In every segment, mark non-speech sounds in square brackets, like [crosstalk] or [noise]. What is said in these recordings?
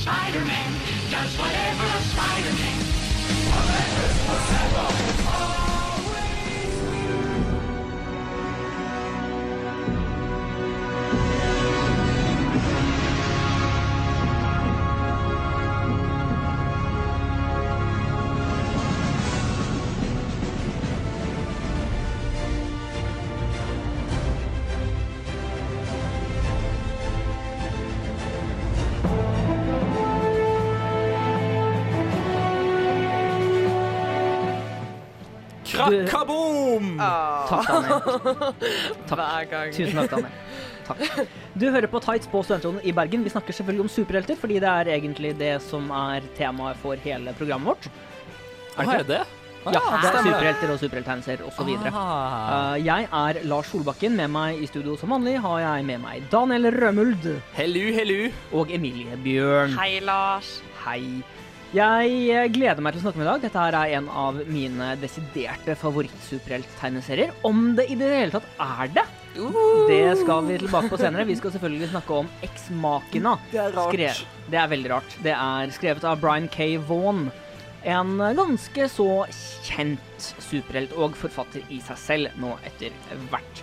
Spider-Man does whatever a Spider-Man. Krakkaboom! [laughs] Takk, Daniel. Hver gang. Tusen takk, Daniel. Takk. Du hører på Tights på Studentrådet i Bergen. Vi snakker selvfølgelig om superhelter, fordi det er egentlig det som er temaet for hele programmet vårt. Er det ikke det? Ah, Ja, det er stemmer. superhelter og superhelttegnelser osv. Ah. Uh, jeg er Lars Solbakken. Med meg i studio som vanlig har jeg med meg Daniel Rømuld Hellu, hellu. og Emilie Bjørn. Hei, Lars. Hei. Jeg eh, gleder meg til å snakke med deg i dag. Dette her er en av mine desiderte favorittsuperhelttegneserier. Om det i det hele tatt er det. Det skal vi tilbake på senere. Vi skal selvfølgelig snakke om Eksmakena. Det er rart. det er veldig rart. Det er skrevet av Brian K. Vaughan. En ganske så kjent superhelt og forfatter i seg selv nå etter hvert.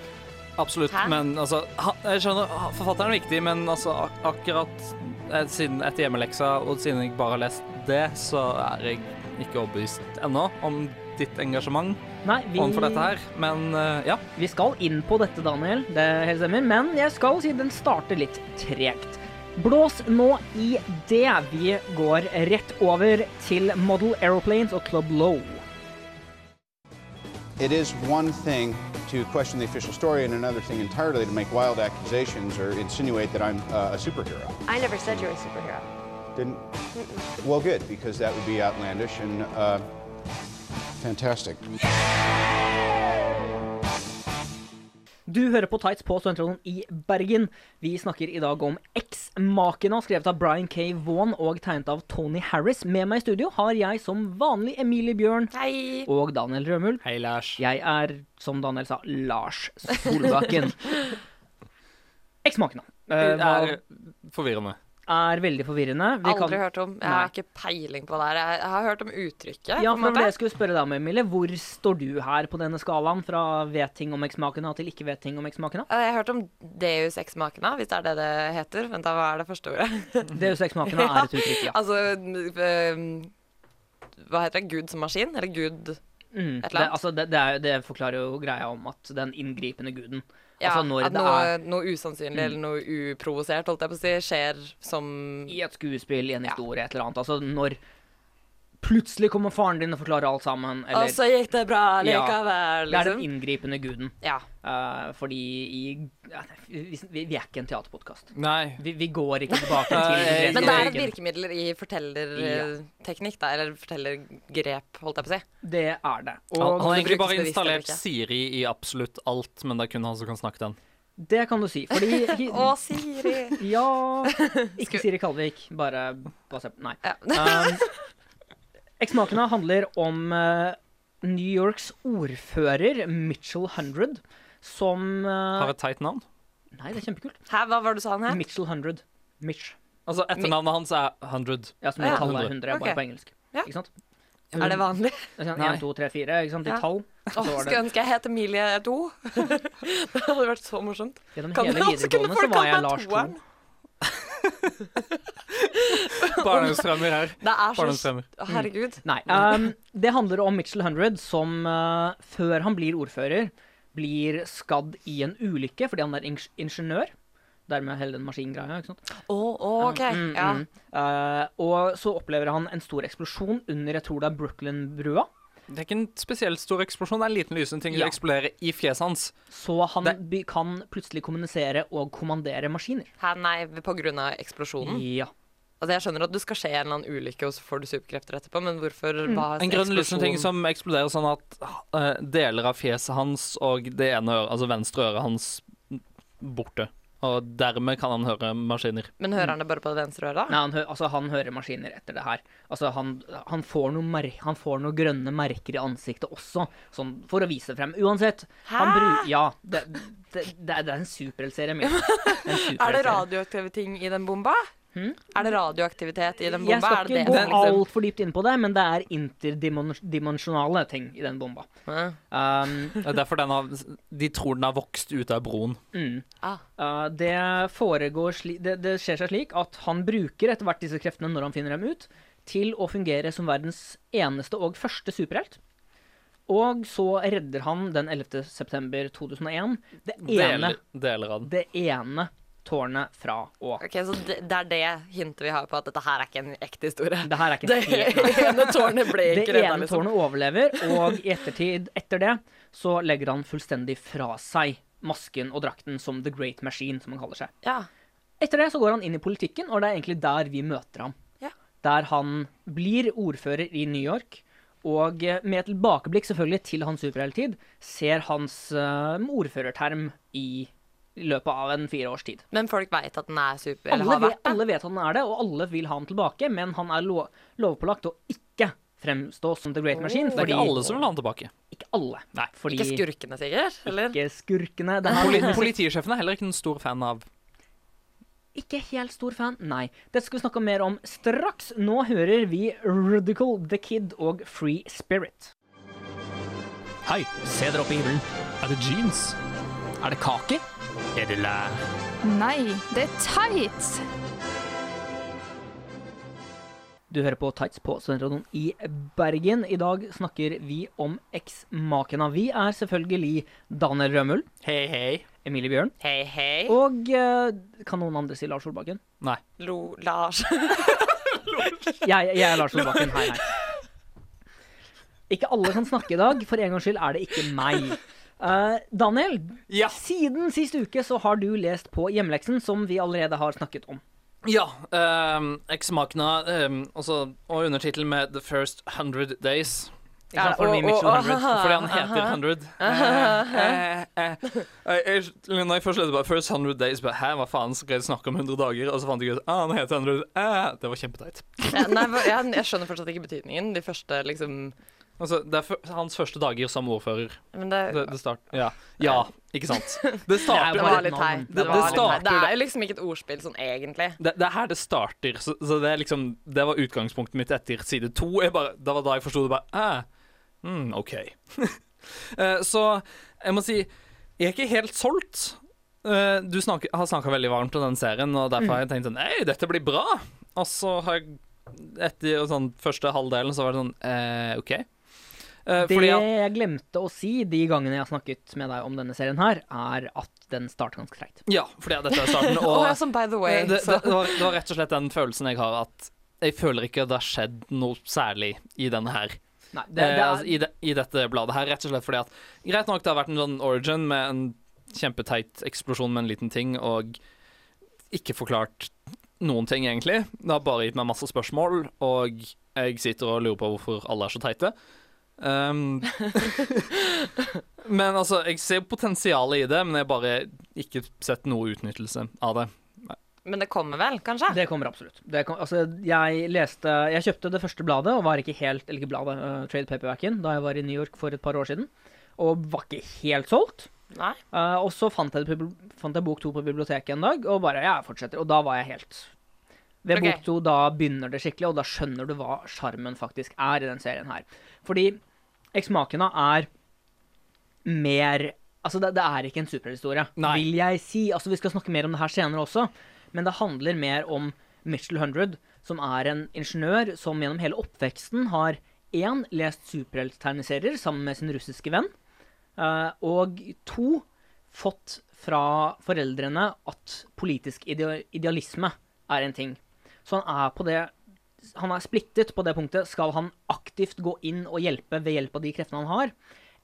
Absolutt. Hæ? Men altså han, Jeg skjønner, ha- forfatteren er viktig, men altså ak akkurat eh, siden etter hjemmeleksa, og siden jeg bare har lest det, så er jeg ikke overbevist ennå om ditt engasjement Nei, vi, overfor dette her. Men eh, ja. vi skal inn på dette, Daniel. Det er helt stemmer. Men jeg skal si den starter litt tregt. Blås nå i det. Vi går rett over til Model Aeroplanes og Club Low. It is one thing to question the official story and another thing entirely to make wild accusations or insinuate that I'm uh, a superhero. I never said you're a superhero. Didn't? Well, good, because that would be outlandish and uh, fantastic. Du hører på Tights på Studentradioen i Bergen. Vi snakker i dag om X-makena, skrevet av Brian K. Vaughan og tegnet av Tony Harris. Med meg i studio har jeg som vanlig Emilie Bjørn Hei. og Daniel Rømul. Hei, Lars. Jeg er, som Daniel sa, Lars Solbakken. X-makena Det eh, er forvirrende. hva- er veldig forvirrende. Vi kan- Aldri hørt om. Jeg Nei. har ikke peiling på det her. Jeg jeg har hørt om uttrykket. Ja, på for det en var det måte. jeg skulle spørre deg om, Emilie. Hvor står du her på denne skalaen fra vet ting om X-makena til ikke vet ting om X-makena? Eh, Jeg har hørt om Deus ex machina, hvis det er det det heter. Vent, da, hva er det første ordet? Deus [laughs] X-makena er et uttrykk, ja. altså eh, Hva heter det? Gud som maskin? Eller Gud Mm. Et Det, eller annet. altså, det, det, er, det forklarer jo greia om at den inngripende guden Ja, Altså når at det noe, er Mm. noe usannsynlig eller noe uprovosert, holdt jeg på å si, skjer som i et skuespill, i en historie, et eller annet Altså når plutselig kommer faren din og forklarer alt sammen, eller Og så gikk det bra Ja. likevel, Det er den Altså, liksom. inngripende guden. Ja. Eh, fordi i ja, vi, vi vi er ikke en teaterpodkast. Nei. Vi, vi går ikke tilbake [laughs] til Nei, den Men det er et egen- virkemiddel i fortellerteknikk, da. Eller fortellergrep, holdt jeg på å si. Det er det. Han, han Og har det egentlig brukes bare bevisst eller installert ikke? Siri i absolutt alt, men det er kun han som kan snakke den. det kan du si. [laughs] Fordi Å, Siri! [laughs] Ja Ikke Siri Kalvik, bare basert på Nei. Ja. Um, Eksmakene handler om eh, New Yorks ordfører Mitchell Hundred, som eh, Har et teit navn. Nei, det er kjempekult. [laughs] Hæ, hva var det du sa han het? Mitchell Hundred. Mitch. Altså, etternavnet hans er 100. Ja, som i Ja. tallet er 100, Ok. bare på engelsk. Ja. Ikke sant? Er det [laughs] vanlig? Nei. 1, 2, 3, 4, ikke sant? I Ja. tall. Åh, skulle ønske jeg het Emilie Do. [laughs] det hadde vært så morsomt. Gjennom Kan hele [laughs] jeg også kunne videregående så folk var kalt jeg meg Lars 2. toeren? [laughs] Barndomsdrømmer her. Det er så Barndomsdrømmer. Å, Herregud. [laughs] Nei. ehm, det handler om Mitchell Hundred som eh, før han blir ordfører, blir skadd i en ulykke fordi han er ing ingeniør. Dermed hele den maskingreia, ikke sant. Å, å, OK. Mm, Ja. mm. Eh, og så opplever han en stor eksplosjon under jeg tror det er Brooklyn-brua. Det er ikke en spesielt stor eksplosjon, det er en liten lysende ting Ja. som eksploderer i fjeset hans. Så han Det- by- kan plutselig kommunisere og kommandere maskiner. Hæ, nei, på grunn av eksplosjonen. Ja. Altså, jeg skjønner at du skal skje en eller annen ulykke, og så får du superkrefter etterpå, men hvorfor Mm. var En grønn lysende ting som eksploderer sånn at eh, deler av fjeset hans og det ene øret, altså venstre øret hans, borte. Og dermed kan han høre maskiner. Men hører han det bare på det venstre øret? Nei, han, hø altså, han hører maskiner etter det her. Altså, han, han, får noen mer han får noen grønne merker i ansiktet også, sånn for å vise frem. Uansett. Han Hæ? bru- ja. Det, det, det, er- det er en superheltserie. Emil. En [laughs] Er det superheltserie. radioaktive ting i den bomba? Er det radioaktivitet i den Hm? Jeg bomba? skal Er det ikke det gå som liksom- altfor dypt inn på det, men det er interdimensjonale ting i den bomba. Ja. Um, Det er derfor den har, de tror den har vokst ut av broen. mm. Ah. Uh, det foregår sli det, det skjer seg slik at han bruker etter hvert disse kreftene når han finner dem ut, til å fungere som verdens eneste og første superhelt. Og så redder han den 11. september 2001 det ene, Deler, deler av den. det ene tårnet fra å Ok, Så det, det er det hintet vi har på at dette her er ikke en ekte historie. Det her er ikke [laughs] Det en helt ene tårnet ble Det ikke redda, ene liksom. tårnet overlever, og i ettertid etter det så legger han fullstendig fra seg masken og drakten som The Great Machine, som han kaller seg. Ja. Etter det så går han inn i politikken, og det er egentlig der vi møter ham. Ja. Der han blir ordfører i New York, og eh, med tilbakeblikk selvfølgelig til hans superhelttid, ser hans eh, ordførerterm i i løpet av en fire års tid. Men folk veit at den er super, eller Alle har vet, vært det. alle vet han er det, og alle vil ha ham tilbake, men han er lo lovpålagt å ikke fremstå som The Great Machine. Det er ikke alle som vil ha den tilbake. Ikke alle. Nei, fordi Ikke skurkene, sikkert? Eller? ikke skurkene. Det her, Poli politisjefen er heller ikke en stor fan av [laughs] ikke helt stor fan, nei. Det skal vi snakke mer om straks. Nå hører vi Rudical The Kid og Free Spirit. Hei, se dere opp i himmelen. Er det jeans? Er det kake? Er det lær? Nei, det er tights! Du hører på Tights på Studentradioen i Bergen. I dag snakker vi om eksmakena. Vi er selvfølgelig Daniel Rømul, hei, hei. Emilie Bjørn Hei, hei. og eh, Kan noen andre si Lars Solbakken? Nei. Lo, Lars. Jeg, jeg er Lars Solbakken. Hei, hei. Ikke alle kan snakke i dag. For en gangs skyld er det ikke meg. Eh, Daniel, Ja. siden sist uke så har du lest på hjemmeleksen, som vi allerede har snakket om. Ja. Um, Eksmakena um, altså, og undertittel med The First Hundred Days. Ikke Ja, sant, for og- Remix og- 100, fordi han heter aha. 100. Eh, eh, eh, jeg- jeg- Når jeg først leste bare First 100 Days, bare, hæ, hva faen skal jeg snakke om 100 dager? Og så fant jeg ut ah, han heter 100. Eh, det var kjempeteit. Ja, [laughs] Nei, hva- jeg, jeg skjønner fortsatt ikke betydningen. De første, liksom Altså, det er fø- hans første dager som ordfører. Men det, Det, det start, ja. ja, ikke sant. Det det starter var et litt navn. teit. Det- Det, var det litt teit. det starter- er jo liksom ikke et ordspill sånn egentlig. det, det er her det starter. Så, så det er liksom Det var utgangspunktet mitt etter side to. Jeg bare, det var da jeg forsto det bare eh, mm, OK. [laughs] Eh, så jeg må si Jeg er ikke helt solgt. Eh, du snakker, har snakka veldig varmt om den serien, og derfor Mm. har jeg tenkt sånn Ei, dette blir bra. Og så har jeg Etter sånn første halvdelen så var det sånn eh, OK. Eh, Det fordi at jeg glemte å si de gangene jeg har snakket med deg om denne serien her, er at den starter ganske treigt. Ja, fordi at dette er [laughs] starten. Og, Og sånn by the way. Eh, det, så. det, det, var, det var rett og slett den følelsen jeg har at jeg føler ikke det har skjedd noe særlig i denne her. Nei, det, eh, det altså, er, i, de, I dette bladet her, rett og slett fordi at Greit nok, det har vært en sånn origin med en kjempeteit eksplosjon med en liten ting, og ikke forklart noen ting, egentlig. Det har bare gitt meg masse spørsmål, og jeg sitter og lurer på hvorfor alle er så teite. [laughs] Um, men altså, jeg ser potensialet i det, men jeg har bare ikke sett noe utnyttelse av det. Men det kommer vel, kanskje? det kommer absolutt. Det kom, altså, jeg leste Jeg kjøpte det første bladet, og var ikke helt Eller ikke bladet, eh, trade paperbacken, da jeg var i New York for et par år siden, og var ikke helt solgt. Nei. Eh, og så fant jeg, det på bibli- fant jeg bok to på biblioteket en dag, og bare jeg fortsetter. Og da var jeg helt Ved Ok. bok to da begynner det skikkelig, og da skjønner du hva sjarmen faktisk er i den serien her. Fordi eksmakena er mer Altså, det, det er ikke en superhistorie, Nei. vil jeg si. Altså, vi skal snakke mer om det her senere også, men det handler mer om Mitchell Hundred, som er en ingeniør som gjennom hele oppveksten har én lest superhelttegneserier sammen med sin russiske venn. Eh, og to, fått fra foreldrene at politisk idea idealisme er en ting. Så han er på det Han er splittet på det punktet. Skal han aktivt gå inn og hjelpe ved hjelp av de kreftene han har?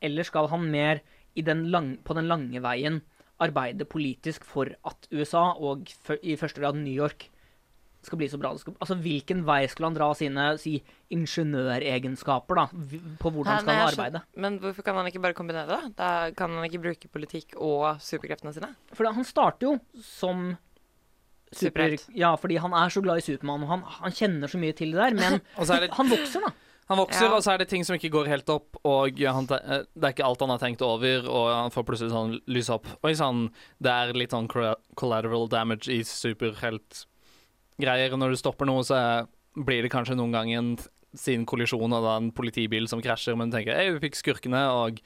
Eller skal han mer i den lang, på den lange veien arbeide politisk for at USA, og fø- i første grad New York, skal bli så bra det skal Altså hvilken vei skulle han dra sine si, ingeniøregenskaper, da? v- På Nei, hvordan men skal han jeg skjønner- arbeide? Men hvorfor kan han ikke bare kombinere det? Da kan han ikke bruke politikk og superkreftene sine? For han starter jo som super, Superhelt. Ja, fordi han er så glad i Supermann, og han, han kjenner så mye til det der, men Og så er det han vokser, da. Han vokser, Ja. og så er det ting som ikke går helt opp, og han, te- eh, det er ikke alt han har tenkt over, og han får plutselig sånn lys sånn opp. Oi sann, det er litt sånn colla- collateral damage i superheltgreiene greier. Når du stopper noe, så blir det kanskje noen gang en sin kollisjon og da en politibil som krasjer, men du tenker «Ei, vi fikk skurkene, og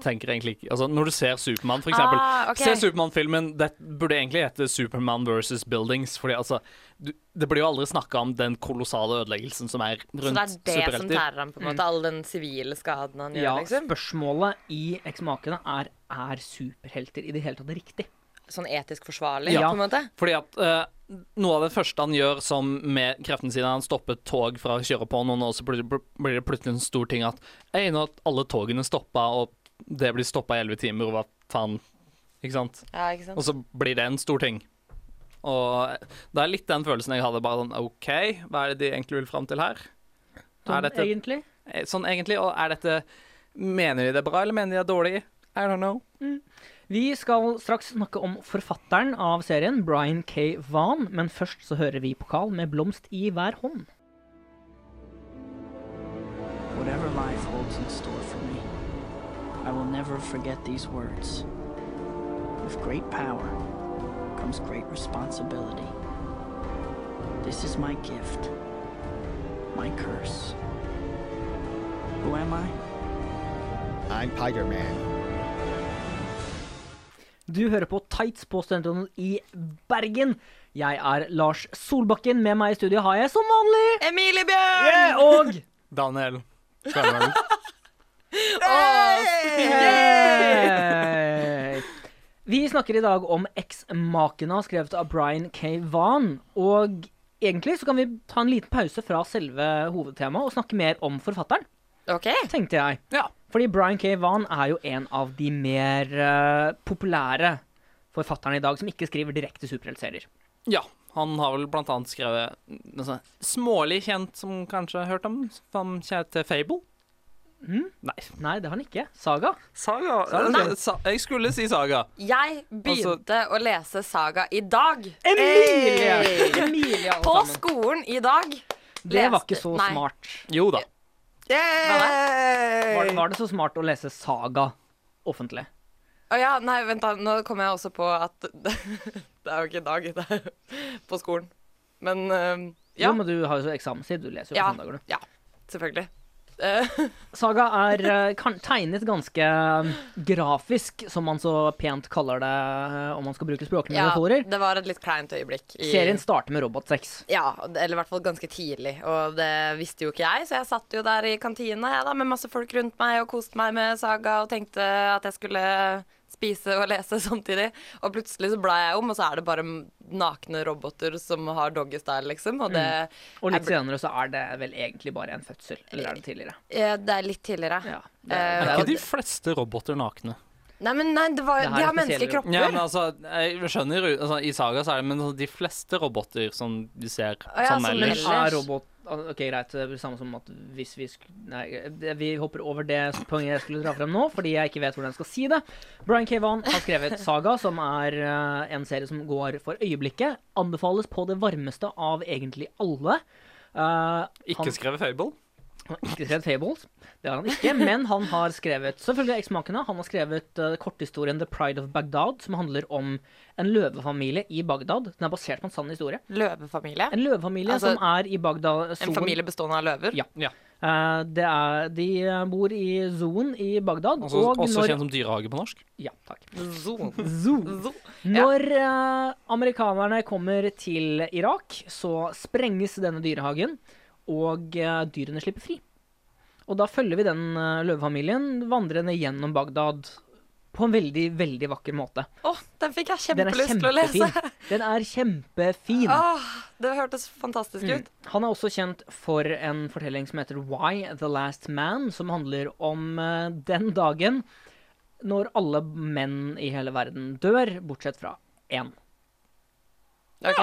tenker egentlig ikke Altså, når du ser Supermann, for eksempel. Ah, ok. Se Supermann-filmen. Det burde egentlig hete Superman versus Buildings, fordi altså du, Det blir jo aldri snakka om den kolossale ødeleggelsen som er Så det rundt er det som superhelter. tærer ham, på en måte? All den sivile skaden han Ja, gjør, liksom? spørsmålet i eksmakene er er superhelter i det hele tatt riktig. Sånn etisk forsvarlig, Ja. på en måte? Fordi at eh, noe av det første han gjør som med kreftene sine Han stopper et tog fra å kjøre på noen, og så blir det- blir det plutselig en stor ting at Ei, nå har alle togene stoppa, og det blir stoppa i elleve timer, og hva faen? Ikke sant? Ja, ikke sant? Og så blir det en stor ting. Og eh, det er litt den følelsen jeg hadde. Bare sånn OK, hva er det de egentlig vil fram til her? Sånn, er dette, egentlig. eh, sånn egentlig, og er dette Mener de det er bra, eller mener de det er dårlig? I don't know. Vi skal straks snakke om forfatteren av serien, Brian K. Vaughan, men først så hører vi pokal med blomst i hver hånd. Whatever life holds in store for me, I will never forget these words. With great power comes great responsibility. This is my gift, my curse. Who am I? I'm Tiger Man. Du hører på Tights på Studentradioen i Bergen. Jeg er Lars Solbakken. Med meg i studio har jeg som vanlig Emilie Bjørn! eh, Og Daniel. Yay! Vi snakker i dag om Eksmakene, skrevet av Brian K. Vaughan. Og egentlig så kan vi ta en liten pause fra selve hovedtemaet og snakke mer om forfatteren, OK. tenkte jeg. [laughs] Ja. Fordi Brian K. Vaughan er jo en av de mer eh, populære forfatterne i dag som ikke skriver direkte superheltserier. ja. Han har vel blant annet skrevet noe sånn smålig kjent, som kanskje har hørt om, som kjent til Fable. Nei. Nei, det har han ikke. Saga. Saga? Nei. Sa jeg skulle si Saga. Jeg begynte å lese Saga i dag. Emilie! Hey! Emilie, alle På sammen. skolen i dag. Det var leste- ikke så Nei. smart. Jo da. Var det, var det så smart å lese Saga offentlig? Å ja, nei, vent da. Nå kom jeg også på at [laughs] Det er jo ikke i dag, det er [laughs] på skolen. Men øhm, ja. Jo, men du har jo så eksamenstid. Du leser jo på Ja, søndager, du. ja. Selvfølgelig. [laughs] Eh, Saga er eh, kan, tegnet ganske eh, grafisk, som man så pent kaller det eh, om man skal bruke språklige ja, metaforer. det var et litt kleint øyeblikk. i- Serien starter med robotsex. Ja, eller i hvert fall ganske tidlig. Og det visste jo ikke jeg, så jeg satt jo der i kantina jeg da, med masse folk rundt meg og koste meg med Saga og tenkte at jeg skulle spise og [laughs] lese samtidig. Og plutselig så bla jeg om, og så er det bare nakne roboter som har doggystyle, liksom. Og det, Mm. Og litt jeg ble- senere så er det vel egentlig bare en fødsel. Eller er det tidligere? eh, det er litt tidligere. Ja. Eh, Er og ikke de det- fleste roboter nakne? Nei, men nei, det var, Det her de er har spesielle menneskelige kropper. Ja, men altså, jeg skjønner jo- altså, I Saga så er det men altså, de fleste roboter som du ser ja, sånn som ellers. Men Ellers- er robot Ok, greit. Det er det samme som at hvis vi sk... Nei, det- vi hopper over det poenget jeg skulle dra frem nå, fordi jeg ikke vet hvordan jeg skal si det. Brian K. Vaughan har skrevet Saga, som er eh, en serie som går for øyeblikket. Anbefales på det varmeste av egentlig alle. Eh, Ikke han- skrevet Fable. Han har ikke skrevet Fables, det har han ikke, men han har skrevet selvfølgelig eksmakene. Han har skrevet eh, korthistorien The Pride of Bagdad, som handler om en løvefamilie i Bagdad. Den er basert på en sann historie. Løvefamilie. En løvefamilie Altså, som er i Bagdad En familie bestående av løver. Ja. Ja. Eh, det er, de eh, bor i zoen i Bagdad. Også, og også når, kjent som dyrehage på norsk. Ja, takk. [laughs] Zoo. Zoo. Zoo. Når eh, amerikanerne kommer til Irak, så sprenges denne dyrehagen, og eh, dyrene slipper fri. Og da følger vi den eh, løvefamilien vandrende gjennom Bagdad på en veldig, veldig vakker måte. Å, den fikk jeg Den er kjempelyst til å lese. Ah. kjempefin. Den er kjempefin. Åh, det hørtes fantastisk ut. Han er også kjent for en fortelling som heter Why the Last Man, som handler om eh, den dagen når alle menn i hele verden dør, bortsett fra én. Ok.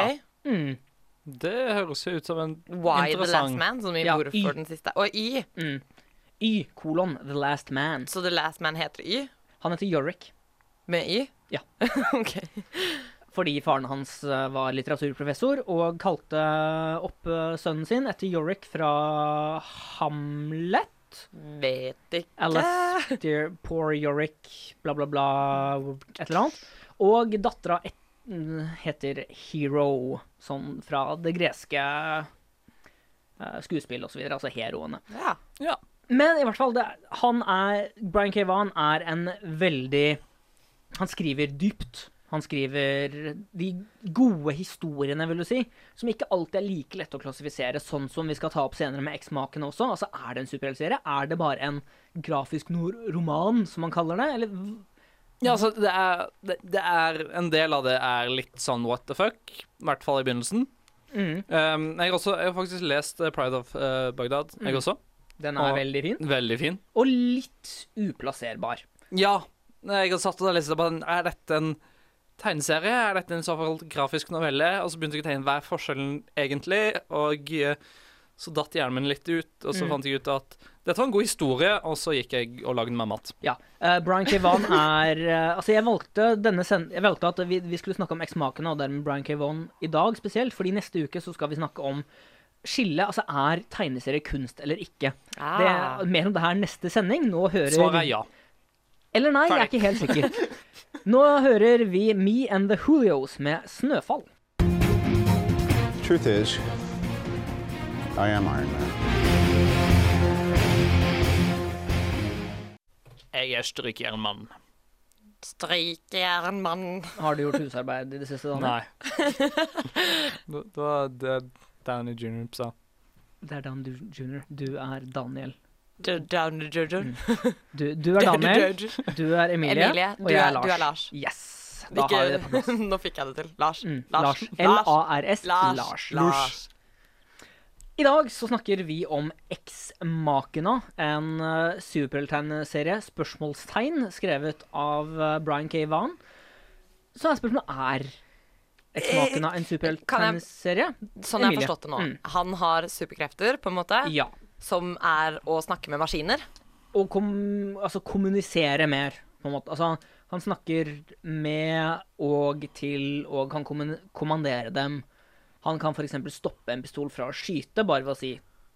Mm. Det høres jo ut som en Why the Last interessant Man, som i Ja, hvorfor Y. den siste. Og Y. Mm. Y, kolon, The Last Man. Så The Last Man heter Y? Han heter Yorick Med Y? Ja. [laughs] ok. fordi faren hans eh, var litteraturprofessor og kalte opp eh, sønnen sin etter Yorick fra Hamlet. Vet ikke. Alice, dear poor Yorick, bla, bla, bla, et eller annet. Og dattera et, mm, heter hero, sånn fra det greske eh, skuespill og så videre, altså heroene. Ja. Ja. Men i hvert fall, det, han er Brian K. Vaughan er en veldig Han skriver dypt. Han skriver de gode historiene, vil du si, som ikke alltid er like lette å klassifisere, sånn som vi skal ta opp senere med X-Maken også. Altså, er det en superheltserie? Er det bare en grafisk nor- roman, som man kaller det? Eller v- Ja, altså, det er, det, det er En del av det er litt sånn what the fuck, i hvert fall i begynnelsen. mm, Um, jeg, har også, jeg har faktisk lest eh, Pride of eh, Baghdad, jeg også. Den er Og- veldig fin. Veldig fin. Og litt uplasserbar. Ja, jeg har satt og lest det på den. Er dette en tegneserie? Er dette en såkalt grafisk novelle? Og så begynte jeg å tegne hva er forskjellen egentlig, og eh, så datt hjernen min litt ut, og så Mm. fant jeg ut at dette var en god historie, og så gikk jeg og lagde meg mat. Ja. eh, Brian K. Vaughan er eh, Altså, jeg valgte, denne send jeg valgte at vi, vi skulle snakke om eksmakene, og dermed Brian K. Vaughan i dag spesielt, fordi neste uke så skal vi snakke om skille. Altså, er tegneserie kunst eller ikke? Det, Ah. mer om det her neste sending. Nå hører Svaret er ja. Eller nei, jeg er ikke helt sikker. Nå hører vi Me and the Julios med 'Snøfall'. Truth is, I am Iron Man. Jeg er strykjernmann. Strykjernmann. Har du gjort husarbeid i det siste? Daniel? Nei. [laughs] det, det var det Danny Junior sa. Det er Dan du, Junior. Du er Daniel. Du, down, du, du, du. Du, Mm. du er Daniel, Du, du, du. du er Emilie, Emilie, og du jeg er- er Lars. du er Lars. Yes. Da Ikke- [laughs] har vi det på plass. Nå fikk jeg det til. Lars. Mm, Lars. Lars. L-A-R-S. Lars. Lars. Lars. I dag så snakker vi om X-Makena, en uh, superhelttegneserie, spørsmålstegn, skrevet av eh, Brian K. Vaughan. Så er spørsmålet er X-Makena en Eh, kan jeg- superhelttegneserie? Sånn jeg har Emilie. forstått det nå. Mm. Han har superkrefter, på en måte, Ja. som er å snakke med maskiner. Og kom, altså kommunisere mer, på en måte. Altså, han snakker med og til og kan kommun- kommandere dem. Han kan f.eks. stoppe en pistol fra å skyte bare ved å si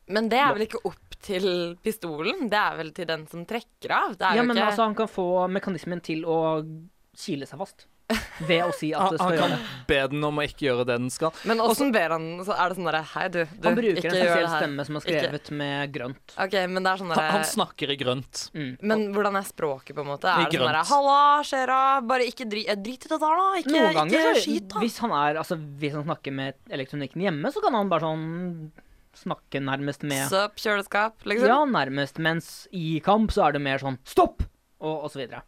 Men det er vel ikke opp til pistolen? Det er vel til den som trekker av? Det er Ja, jo men ikke altså, han kan få mekanismen til å kile seg fast. Ved å [laughs] si at Han, det skal han gjøre kan det. be den om å ikke gjøre det den skal. Men åssen ber han? Så er det sånn derre Hei, du, du Han bruker ikke en gjør spesiell det her. stemme som er skrevet med grønt. OK, men det er sånn Han, han derre snakker i grønt. Men hvordan er språket, på en måte? Er I det sånn derre grønt. Halla, skjer'a, bare ikke dri, eh, drit i det der, da. Ikke, Noen ganger, ikke så- skyt, da. hvis han, er, altså, hvis han snakker med elektronikken hjemme, så kan han bare sånn snakke nærmest med Sup, kjøleskap, liksom. Ja, nærmest. Mens i kamp så er det mer sånn stopp! Og, og så [laughs] videre.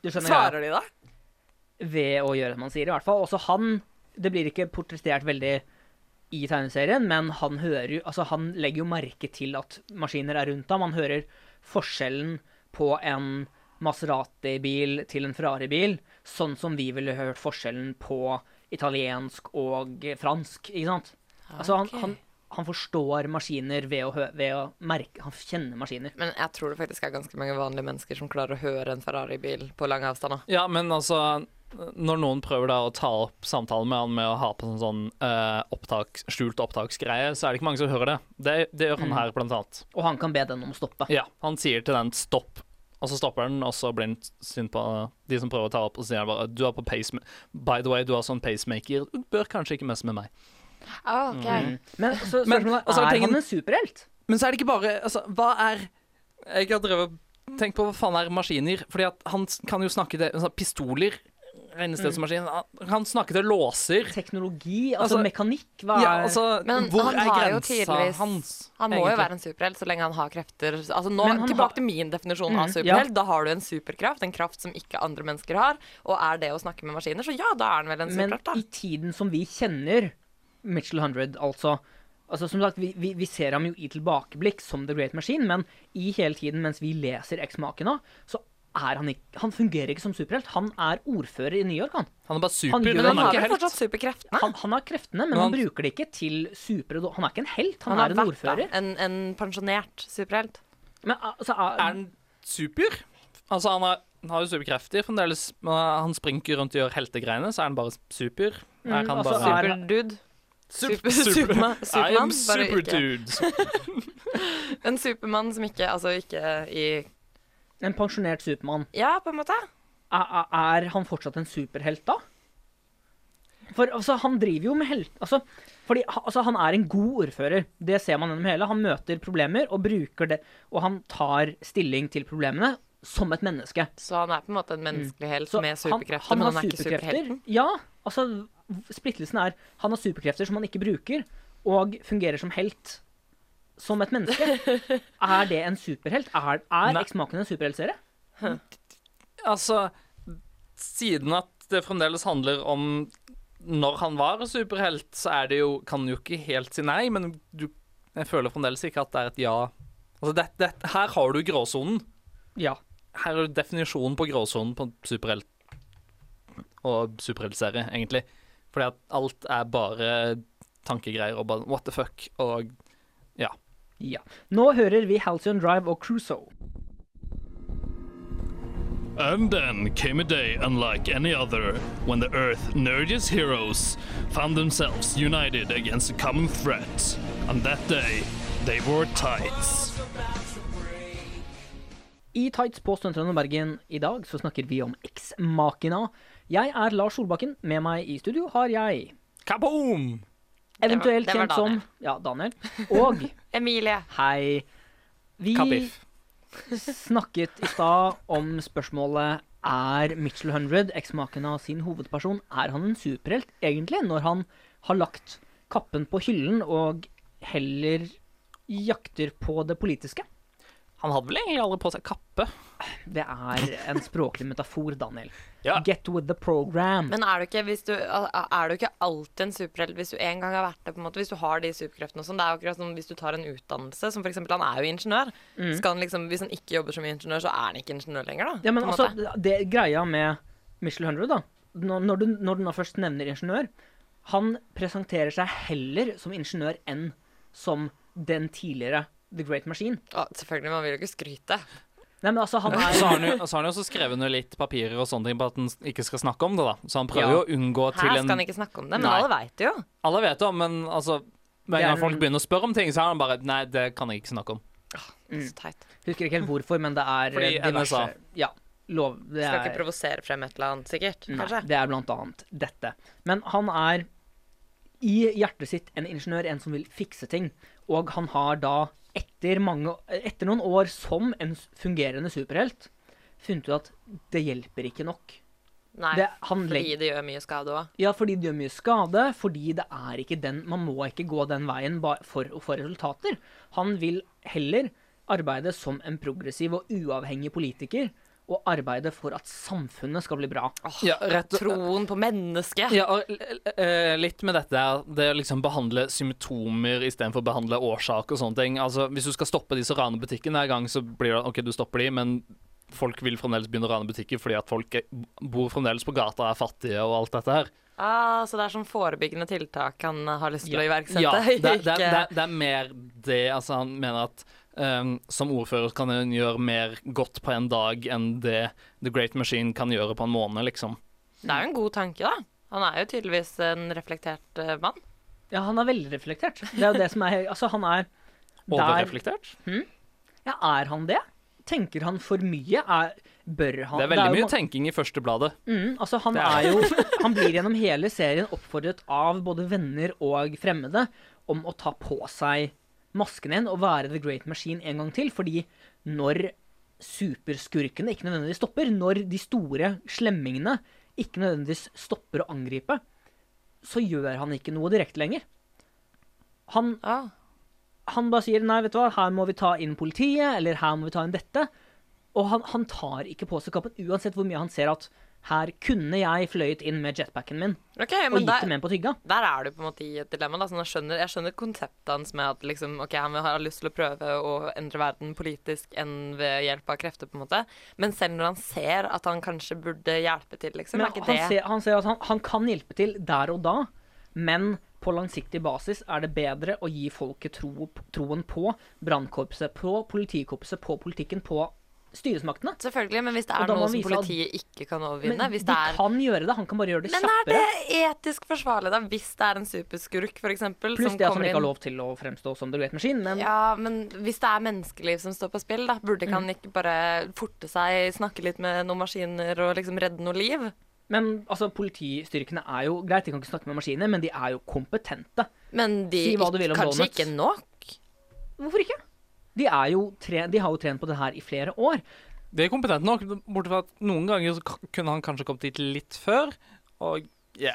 Du skjønner greia. Svarer de da? Ved å gjøre det man sier, i hvert fall. Også han Det blir ikke portrettert veldig i tegneserien, men han hører jo Altså, han legger jo merke til at maskiner er rundt ham. Han hører forskjellen på en Maserati-bil til en Ferrari-bil, sånn som vi ville hørt forskjellen på italiensk og fransk, ikke sant? Altså, han, ok. han, han forstår maskiner ved å, hø ved å merke Han kjenner maskiner. Men jeg tror det faktisk er ganske mange vanlige mennesker som klarer å høre en Ferrari-bil på lang avstand. da. Ja, men altså Når noen prøver da å ta opp samtalen med han med å ha på sånn, sånn eh, opptak, skjult opptaksgreie, så er det ikke mange som hører det. Det, det gjør han Mm. her, blant annet. Og han kan be den om å stoppe. Ja, han sier til den 'stopp', og så stopper den, og så blir han synd på de som prøver å ta opp, og så sier han bare 'du har på pace... By the way, du har sånn pacemaker, du bør kanskje ikke messe med meg'. Mm. Men så Men, spørsmålet altså, er, er tingen- han en superhelt? Men så er det ikke bare Altså, hva er Jeg har drevet Tenk på hva faen er maskiner? Fordi at han s- kan jo snakke til altså, pistoler. Regnes Mm. det som maskin? Han- Han snakker til låser. Teknologi? Altså, Altså, mekanikk? Hva er Ja, altså, Men hvor han er har jo grensa tydeligvis- hans? Han må jo egentlig? være en superhelt så lenge han har krefter. Altså nå, Men han Tilbake har- til min definisjon Mm, av superhelt. Da har du en superkraft, en kraft som ikke andre mennesker har. Og er det å snakke med maskiner, så ja, da er han vel en Men superhelt, da. i tiden som vi kjenner Mitchell 100, altså Altså som sagt, vi, vi, vi ser ham jo i tilbakeblikk som The Great Machine, men i hele tiden mens vi leser X-Maken nå, så er han ikke Han fungerer ikke som superhelt. Han er ordfører i New York, han. Han er bare super. gjør Men han han er har ikke vel helt. fortsatt superkreftene? Han, han har kreftene, men Men han, han- bruker det ikke til super... Han er ikke en helt, han, har er en vært, da, ordfører. En, en pensjonert superhelt. Men altså, Er han super? Altså, han har, han har jo superkrefter fremdeles. Men han springer rundt og gjør heltegreiene, så er han bare super. Er han altså, bare er- Superdude. super, Mm, super- Superman- I am Superman, bare ikke. superdude. En supermann som ikke Altså ikke i en pensjonert Supermann, Ja, på en måte. er, er han fortsatt en superhelt da? For altså, han driver jo med hel... Altså, fordi, ha- altså, han er en god ordfører. Det ser man gjennom hele. Han møter problemer og bruker det Og han tar stilling til problemene som et menneske. Så han er på en måte en menneskelig helt Mm. Så med superkrefter, han men han har er ikke superhelten. Ja. Altså, v- splittelsen er Han har superkrefter som han ikke bruker, og fungerer som helt. Som et menneske. [laughs] Er det en superhelt? Er, er Nei. Eksmaken en superheltserie? Altså, siden at det fremdeles handler om når han var superhelt, så er det jo Kan jo ikke helt si nei, men du, jeg føler fremdeles ikke at det er et ja. Altså, det, det, her har du gråsonen. Ja. Her er definisjonen på gråsonen på superhelt og superheltserie, egentlig. Fordi at alt er bare tankegreier og bare what the fuck og ja. Nå hører vi Halcyon Drive og Crusoe. And then came a day unlike any other when the Earth nerdiest heroes found themselves united against a common threat. On that day, they wore tights. I Tights på Studentradioen og Bergen i dag så snakker vi om eksmakina. Jeg er Lars Solbakken. Med meg i studio har jeg kaboom! eventuelt det var kjent som Ja, Daniel. [laughs] Og Emilie. hei. Vi Kabiff. snakket i stad om spørsmålet er Mitchell Hundred, eksmakena sin hovedperson, er han en superhelt egentlig, når han har lagt kappen på hyllen og heller jakter på det politiske? Han hadde vel egentlig aldri på seg kappe. Det er en språklig metafor, Daniel. Ja. Get with the program. Men er du, ikke, hvis du, er du ikke alltid en superhelt hvis du en gang har vært det? på en måte, Hvis du har de superkreftene og sånn. Det er jo akkurat som hvis du tar en utdannelse, som f.eks. han er jo ingeniør. Mm. Skal han liksom, hvis han ikke jobber som ingeniør, så er han ikke ingeniør lenger, da. Ja, men på en altså, måte. det greia med Michel Hundred, da Når, når, du, når du nå først nevner ingeniør Han presenterer seg heller som ingeniør enn som den tidligere The Great Machine. Å, selvfølgelig, man vil jo ikke skryte. Nei, men altså, han er Så har han jo, så har han jo også skrevet ned litt papirer og sånne ting på at han ikke skal snakke om det, da. Så han prøver Ja. jo å unngå Her til skal han en ikke snakke om det, men Nei. alle veit det jo. Alle vet det, men altså Med en Det er gang folk en- begynner å spørre om ting, så er han bare Nei, det kan jeg ikke snakke om. Mm. Så teit. Husker ikke helt hvorfor, men det er Fordi eh, diverse NSA. Ja. Lov, det Skal ikke er, provosere frem et eller annet, sikkert. nei, Kanskje. det er blant annet dette. Men han er i hjertet sitt en ingeniør, en som vil fikse ting. Og han har da, etter, mange, etter noen år som en s- fungerende superhelt, funnet ut at det hjelper ikke nok. Nei, Det, han fordi legger, det gjør mye skade òg. ja, fordi det gjør mye skade, fordi det er ikke den Man må ikke gå den veien ba- for å få resultater. Han vil heller arbeide som en progressiv og uavhengig politiker, og arbeide for at samfunnet skal bli bra. Ja, rett Troen på mennesket. Ja, og l- l- eh, litt med dette her, det å liksom behandle symptomer istedenfor å behandle årsak og sånne ting. Altså, Hvis du skal stoppe de som raner butikken hver gang, så blir det OK, du stopper de, men folk vil fremdeles begynne å rane butikker fordi at folk er, bor fremdeles på gata, er fattige og alt dette her. Ah, så det er sånn forebyggende tiltak han har lyst til å iverksette? Ja, det, det, det, Ikke- det er mer det. Altså, han mener at ehm, som ordfører kan en gjøre mer godt på en dag enn det The Great Machine kan gjøre på en måned, liksom. Det er jo en god tanke, da. Han er jo tydeligvis en reflektert eh, mann. Ja, han er velreflektert. Det er jo det som er Altså, han er Overreflektert. Ja, er han det? Tenker han for mye? Er, bør han Det er veldig jo mye ma- tenking i første bladet. Mm, altså han Det er er jo Han blir gjennom hele serien oppfordret av både venner og fremmede om å ta på seg masken igjen og være The Great Machine en gang til, fordi når superskurkene ikke nødvendigvis stopper, når de store slemmingene ikke nødvendigvis stopper å angripe, så gjør han ikke noe direkte lenger. Han, Ah. han bare sier 'nei, vet du hva, her må vi ta inn politiet', eller 'her må vi ta inn dette'. Og han, han tar ikke på seg kappen, uansett hvor mye han ser at her kunne jeg fløyet inn med jetpacken min Ok, og men gitt der, dem en på tygga. der er du på en måte i et dilemma. Da. Sånn, jeg, skjønner, jeg skjønner konseptet hans med at liksom, ok, han har lyst til å prøve å endre verden politisk enn ved hjelp av krefter, på en måte. Men selv når han ser at han kanskje burde hjelpe til, liksom, Men er ikke han det ser, han ser at han, han kan hjelpe til der og da, men på langsiktig basis er det bedre å gi folket tro, troen på brannkorpset, på politikorpset, på politikken, på styresmaktene. Selvfølgelig, men hvis det Og er da må han noe som vise at- politiet ikke kan Men overvinne hvis de det er... kan gjøre det, han kan bare gjøre det Men er kjappere. det etisk forsvarlig, da, hvis det er en superskurk, for eksempel? Pluss som det at han kommer ikke har inn? lov til å fremstå som The Great Machine, men Mm. Ja, men hvis det er menneskeliv som står på spill, da, burde ikke han ikke bare forte seg, snakke litt med noen maskiner og liksom redde noe liv? Men altså, politistyrkene er jo greit, de kan ikke snakke med maskiner, men de er jo kompetente. Men de Si hva du vil om kanskje donuts. ikke nok? Hvorfor ikke? De, er jo tre, de har jo trent på det her i flere år. Det er kompetent nok, bortsett fra at noen ganger så k- kunne han kanskje kommet dit litt før. Og ja.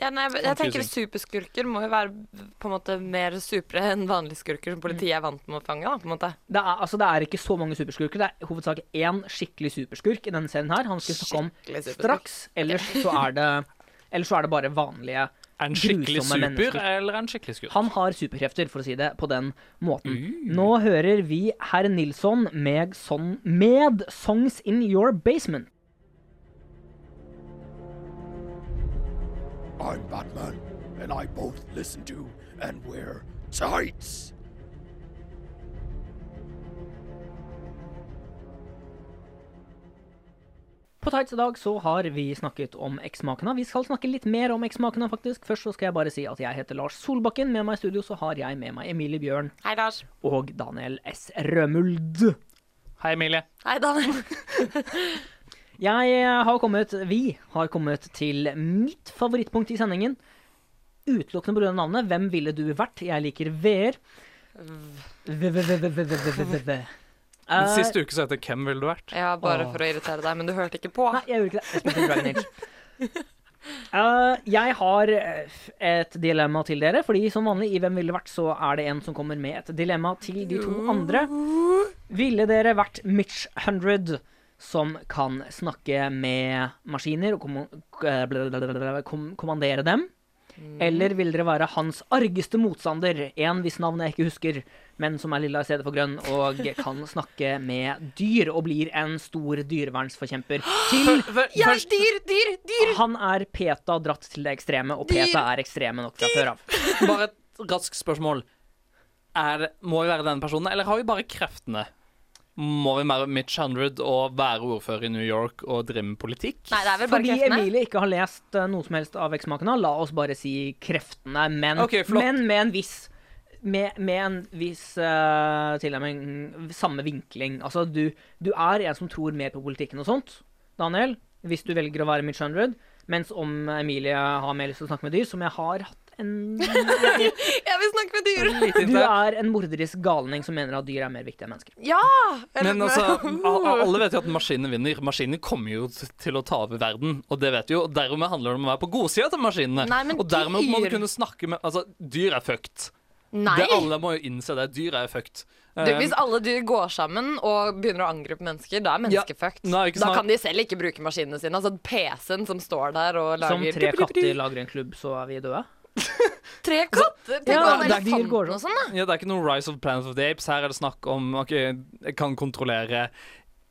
Ja, nei, jeg, jeg tenker Confusing. Superskurker må jo være på en måte mer supre enn vanlige skurker som politiet er vant med å fange. Da, på en måte. Det er, altså, det er ikke så mange superskurker. Det er hovedsakelig én skikkelig superskurk i denne serien her. Han skal vi snakke om Skikkelig superskurk. straks. Ellers så er det, ellers så er det bare vanlige Er han skikkelig Grusomme super mennesker. eller er han skikkelig skurk? Han har superkrefter, for å si det på den måten. Mm. Nå hører vi herr Nilsson med, sånn, med 'Songs In Your Basement'. I'm Batman, and I both listen to and wear tights. På Tights i dag så har vi snakket om eksmakene. Vi skal snakke litt mer om eksmakene, faktisk. Først så skal jeg bare si at jeg heter Lars Solbakken. Med meg i studio så har jeg med meg Emilie Bjørn Hei, Lars. og Daniel S. Rømuld. Hei, Emilie. Hei, [laughs] Daniel. Jeg eh, har kommet, vi har kommet til mitt favorittpunkt i sendingen. Utelukkende pga. navnet. Hvem ville du vært? Jeg liker VR. V-v-v-v-v-v-v-v-v. Men Eh, Sist uke så het det 'Hvem ville du vært?' Ja, bare Åh. for å irritere deg, men du hørte ikke på. Nei, jeg gjorde ikke det. Jeg spilte Dragon Age. Eh, jeg har eh, et dilemma til dere, fordi som vanlig i Hvem ville vært, så er det en som kommer med et dilemma til de to andre. Ville dere vært Mitch 100, som kan snakke med maskiner og kommo- eh, blablabla, kom kommandere dem? Eller vil dere være hans argeste motstander, en hvis navn jeg ikke husker, men som er lilla i stedet for grønn, og kan snakke med dyr og blir en stor dyrevernsforkjemper? Til Ja, dyr, dyr, dyr! han er PETA dratt til det ekstreme, og PETA er ekstreme nok fra før av. Bare et raskt spørsmål. Er, det- må vi være den personen, eller har vi bare kreftene? Må vi være Mitch Hundred og være ordfører i New York og drive med politikk? Nei, det er vel bare Fordi kreftene. Emilie ikke har lest eh, noe som helst av eksmakene, la oss bare si kreftene, men, Ok, flott. men med en viss med, med en viss eh, tilnærming Samme vinkling. Altså, du, du er en som tror mer på politikken og sånt, Daniel, hvis du velger å være Mitch 100. Mens om Emilie har mer lyst til å snakke med dyr, som jeg har hatt en Jeg vil snakke med dyr. Lite Du inntrykk. er en morderisk galning som mener at dyr er mer viktig enn mennesker. Ja! eller- Men altså, [laughs] a- a- alle vet jo at maskinene vinner. Maskinene kommer jo t- til å ta over verden, og det vet vi jo. Og dermed handler det om å være på godsida til maskinene. Nei, men og dermed må du dyr- kunne snakke med Altså, dyr er fucked. Nei! Det alle må jo innse det. Dyr er fucked. Du, Eh, hvis alle dyr går sammen og begynner å angripe mennesker, da er mennesket fucked. Nei, ikke Da sant. kan de selv ikke bruke maskinene sine. Altså PC-en som står der og lager Som tre katter lager en klubb, så er vi døde. Tre katter! Tenk Ja, om det er dyr går elefanten og sånn, da. Ja, det er ikke noe Rise of Planet of the Apes. Her er det snakk om ok, jeg kan kontrollere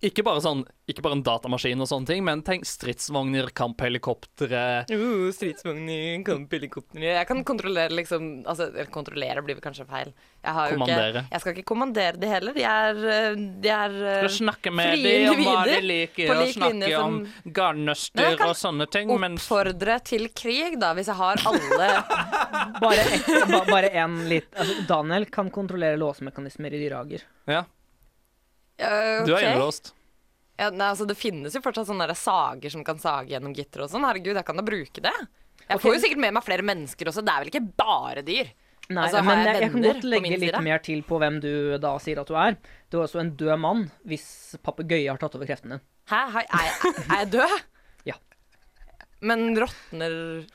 ikke bare, sånn, ikke bare en datamaskin og sånne ting, men tenk stridsvogner, kamphelikoptre Uh, stridsvogner, kampelikopter Jeg kan kontrollere liksom altså, eller Kontrollere blir vel kanskje feil. Jeg har jo Kommandere. ikke Jeg skal ikke kommandere de heller. De er, øh, de er øh, Skal snakke med frie dem om hva de individer, liker, på og lik snakke linje som- om garnnøster Men jeg kan og sånne ting, men Oppfordre til krig, da, hvis jeg har alle Bare, et, ba, bare en litt altså, Daniel kan kontrollere låsemekanismer i dyrehager. ja, Øh, du er ok. innelåst. Ja, nei, altså, det finnes jo fortsatt sånne der sager som kan sage gjennom gitter og sånn. Herregud, jeg kan da bruke det. Jeg får jo sikkert med meg flere mennesker også. Det er vel ikke bare dyr? Nei, Altså, har men jeg jeg, jeg kan venner godt på legge min litt side? mer til på hvem du da sier at du er. Du er også en død mann hvis papegøye har tatt over kreftene dine. Hæ? Har- Er jeg, er jeg død? [laughs] Ja. Men råtner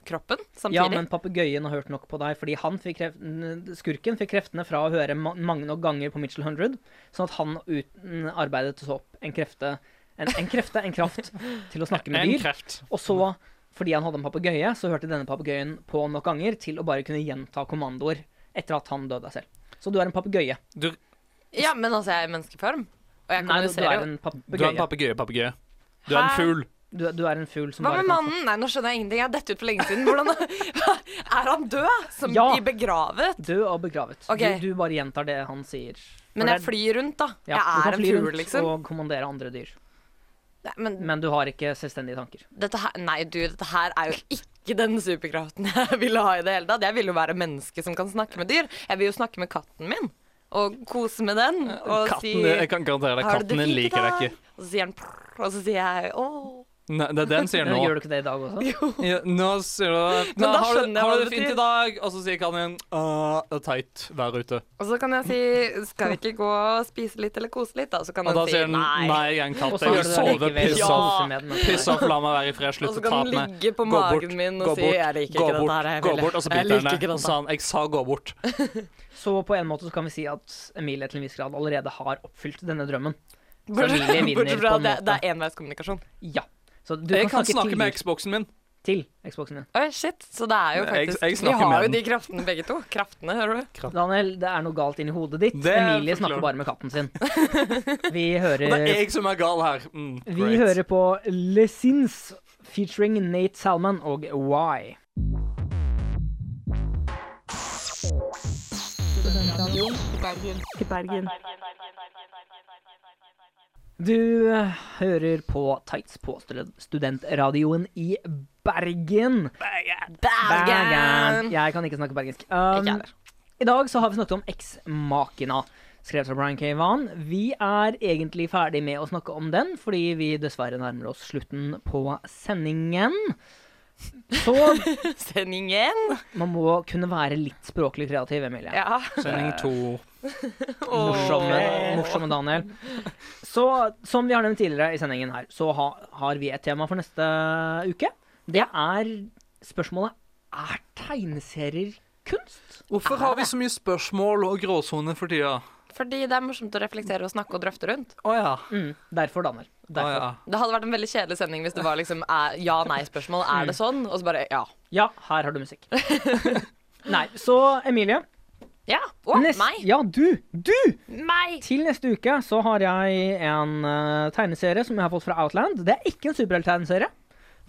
kroppen samtidig? Ja, men papegøyen har hørt nok på deg, fordi han fikk kreft, n- skurken fikk kreftene fra å høre ma mange nok ganger på Mitchell 100, sånn at han uten arbeidet så opp en krefte, en, en krefte, en kraft til å snakke med En dyr. kreft. Og så, fordi han hadde en papegøye, så hørte denne papegøyen på nok ganger til å bare kunne gjenta kommandoer etter at han døde selv. Så du er en papegøye. Du, Ja, men altså, jeg er i menneskeform. Og jeg Nei, du kommuniserer er jo. en du er en papegøye, papegøye. papegøye. Du er en Hæ? fugl. Du, du er en fugl som Hva bare med kan mannen? Nei, nå skjønner jeg ingenting. Jeg har dett ut for lenge siden. Hvordan, [laughs] er han død? Som Ja. i begravet? Død og begravet. Ok. Du, du bare gjentar det han sier. Men For jeg det- flyr rundt, da. ja, jeg er du kan en fly fugl, rundt liksom. Og kommandere andre dyr. Nei, men Men du har ikke selvstendige tanker. dette her, nei, du, dette her er jo ikke den superkraften jeg ville ha i det hele tatt. Jeg ville jo være menneske som kan snakke med dyr. Jeg vil jo snakke med katten min. Og kose med den. Og Katten, si jeg kan garantere deg, «Har du det katten din fint i liker deg dag?» ikke. Og så sier han prr, og så sier jeg åh. Nei, det er det den sier nå. Gjør du ikke [laughs] det i dag også? Ja, nå sier du at Men «Nei, da har, du- skjønner jeg har hva du det det fint betyr.» i dag? Og så sier Kanin «Åh, det er teit vær ute. Og så kan jeg si skal vi ikke gå og spise litt eller kose litt, da? Så kan Og da han si sier den nei, jeg er en Og katt. så Jeg vil gjør du sove. det likevel, Piss ja. off. Piss sånn. off, la meg være i fred. Og Slutt så å kan ta på den meg. ligge på Gå bort, magen min gå og si bort, jeg gå liker ikke dette bort, her. jeg Gå vil- bort, og så jeg biter jeg liker ikke henne. dette. Så sa han jeg sa gå bort. Så på en måte så kan vi si at Emilie til en viss grad allerede har oppfylt denne drømmen. Så Bortsett Emilie vinner på bortsett fra en det, det måte. er enveiskommunikasjon. Ja. Så du Jeg kan snakke til, med Xboxen min. til Xboxen din. Oi, shit. Så det er jo Jeg- faktisk jeg Vi snakker med har jo den. de kraftene begge to. Kraftene, hører du. Daniel, det er noe galt inni hodet ditt. Det Emilie forklarer. snakker bare med katten [laughs] sin. Vi hører Og det er jeg som er gal her. Mm, Vi great. hører på Le Sins featuring Nate Salman og Why. Du eh, hører på Tights på stud- studentradioen i Bergen. Bergen! Jeg kan ikke snakke bergensk. Um, heller. I dag så har vi snakket om Ex-Makina, skrevet av Brian K. Vaughan. Vi er egentlig ferdig med å snakke om den, fordi vi dessverre nærmer oss slutten på sendingen. Så Sendingen. man må kunne være litt språklig kreativ, Emilie. Ja. Sending to. Morsomme, morsomme Daniel. Så som vi har nevnt tidligere i sendingen her, så ha, har vi et tema for neste uke. Det er spørsmålet Er tegneserier kunst? Hvorfor har vi så mye spørsmål og gråsoner for tida? Fordi det er morsomt å reflektere og snakke og drøfte runnt. Å ja. Mm, derfor, Daniel. Å Derfor. ja. Det hadde vært en veldig kjedelig sending hvis det var liksom er- ja-nei-spørsmål. Er det sånn? Og så bare ja. Ja, her har du [laughs] musikk. Nei, så Emilie Ja. Å, nest- meg. Ja, du! Du! Meg. Til neste uke så har jeg en eh, tegneserie som jeg har fått fra Outland. Det er ikke en superhelttegneserie.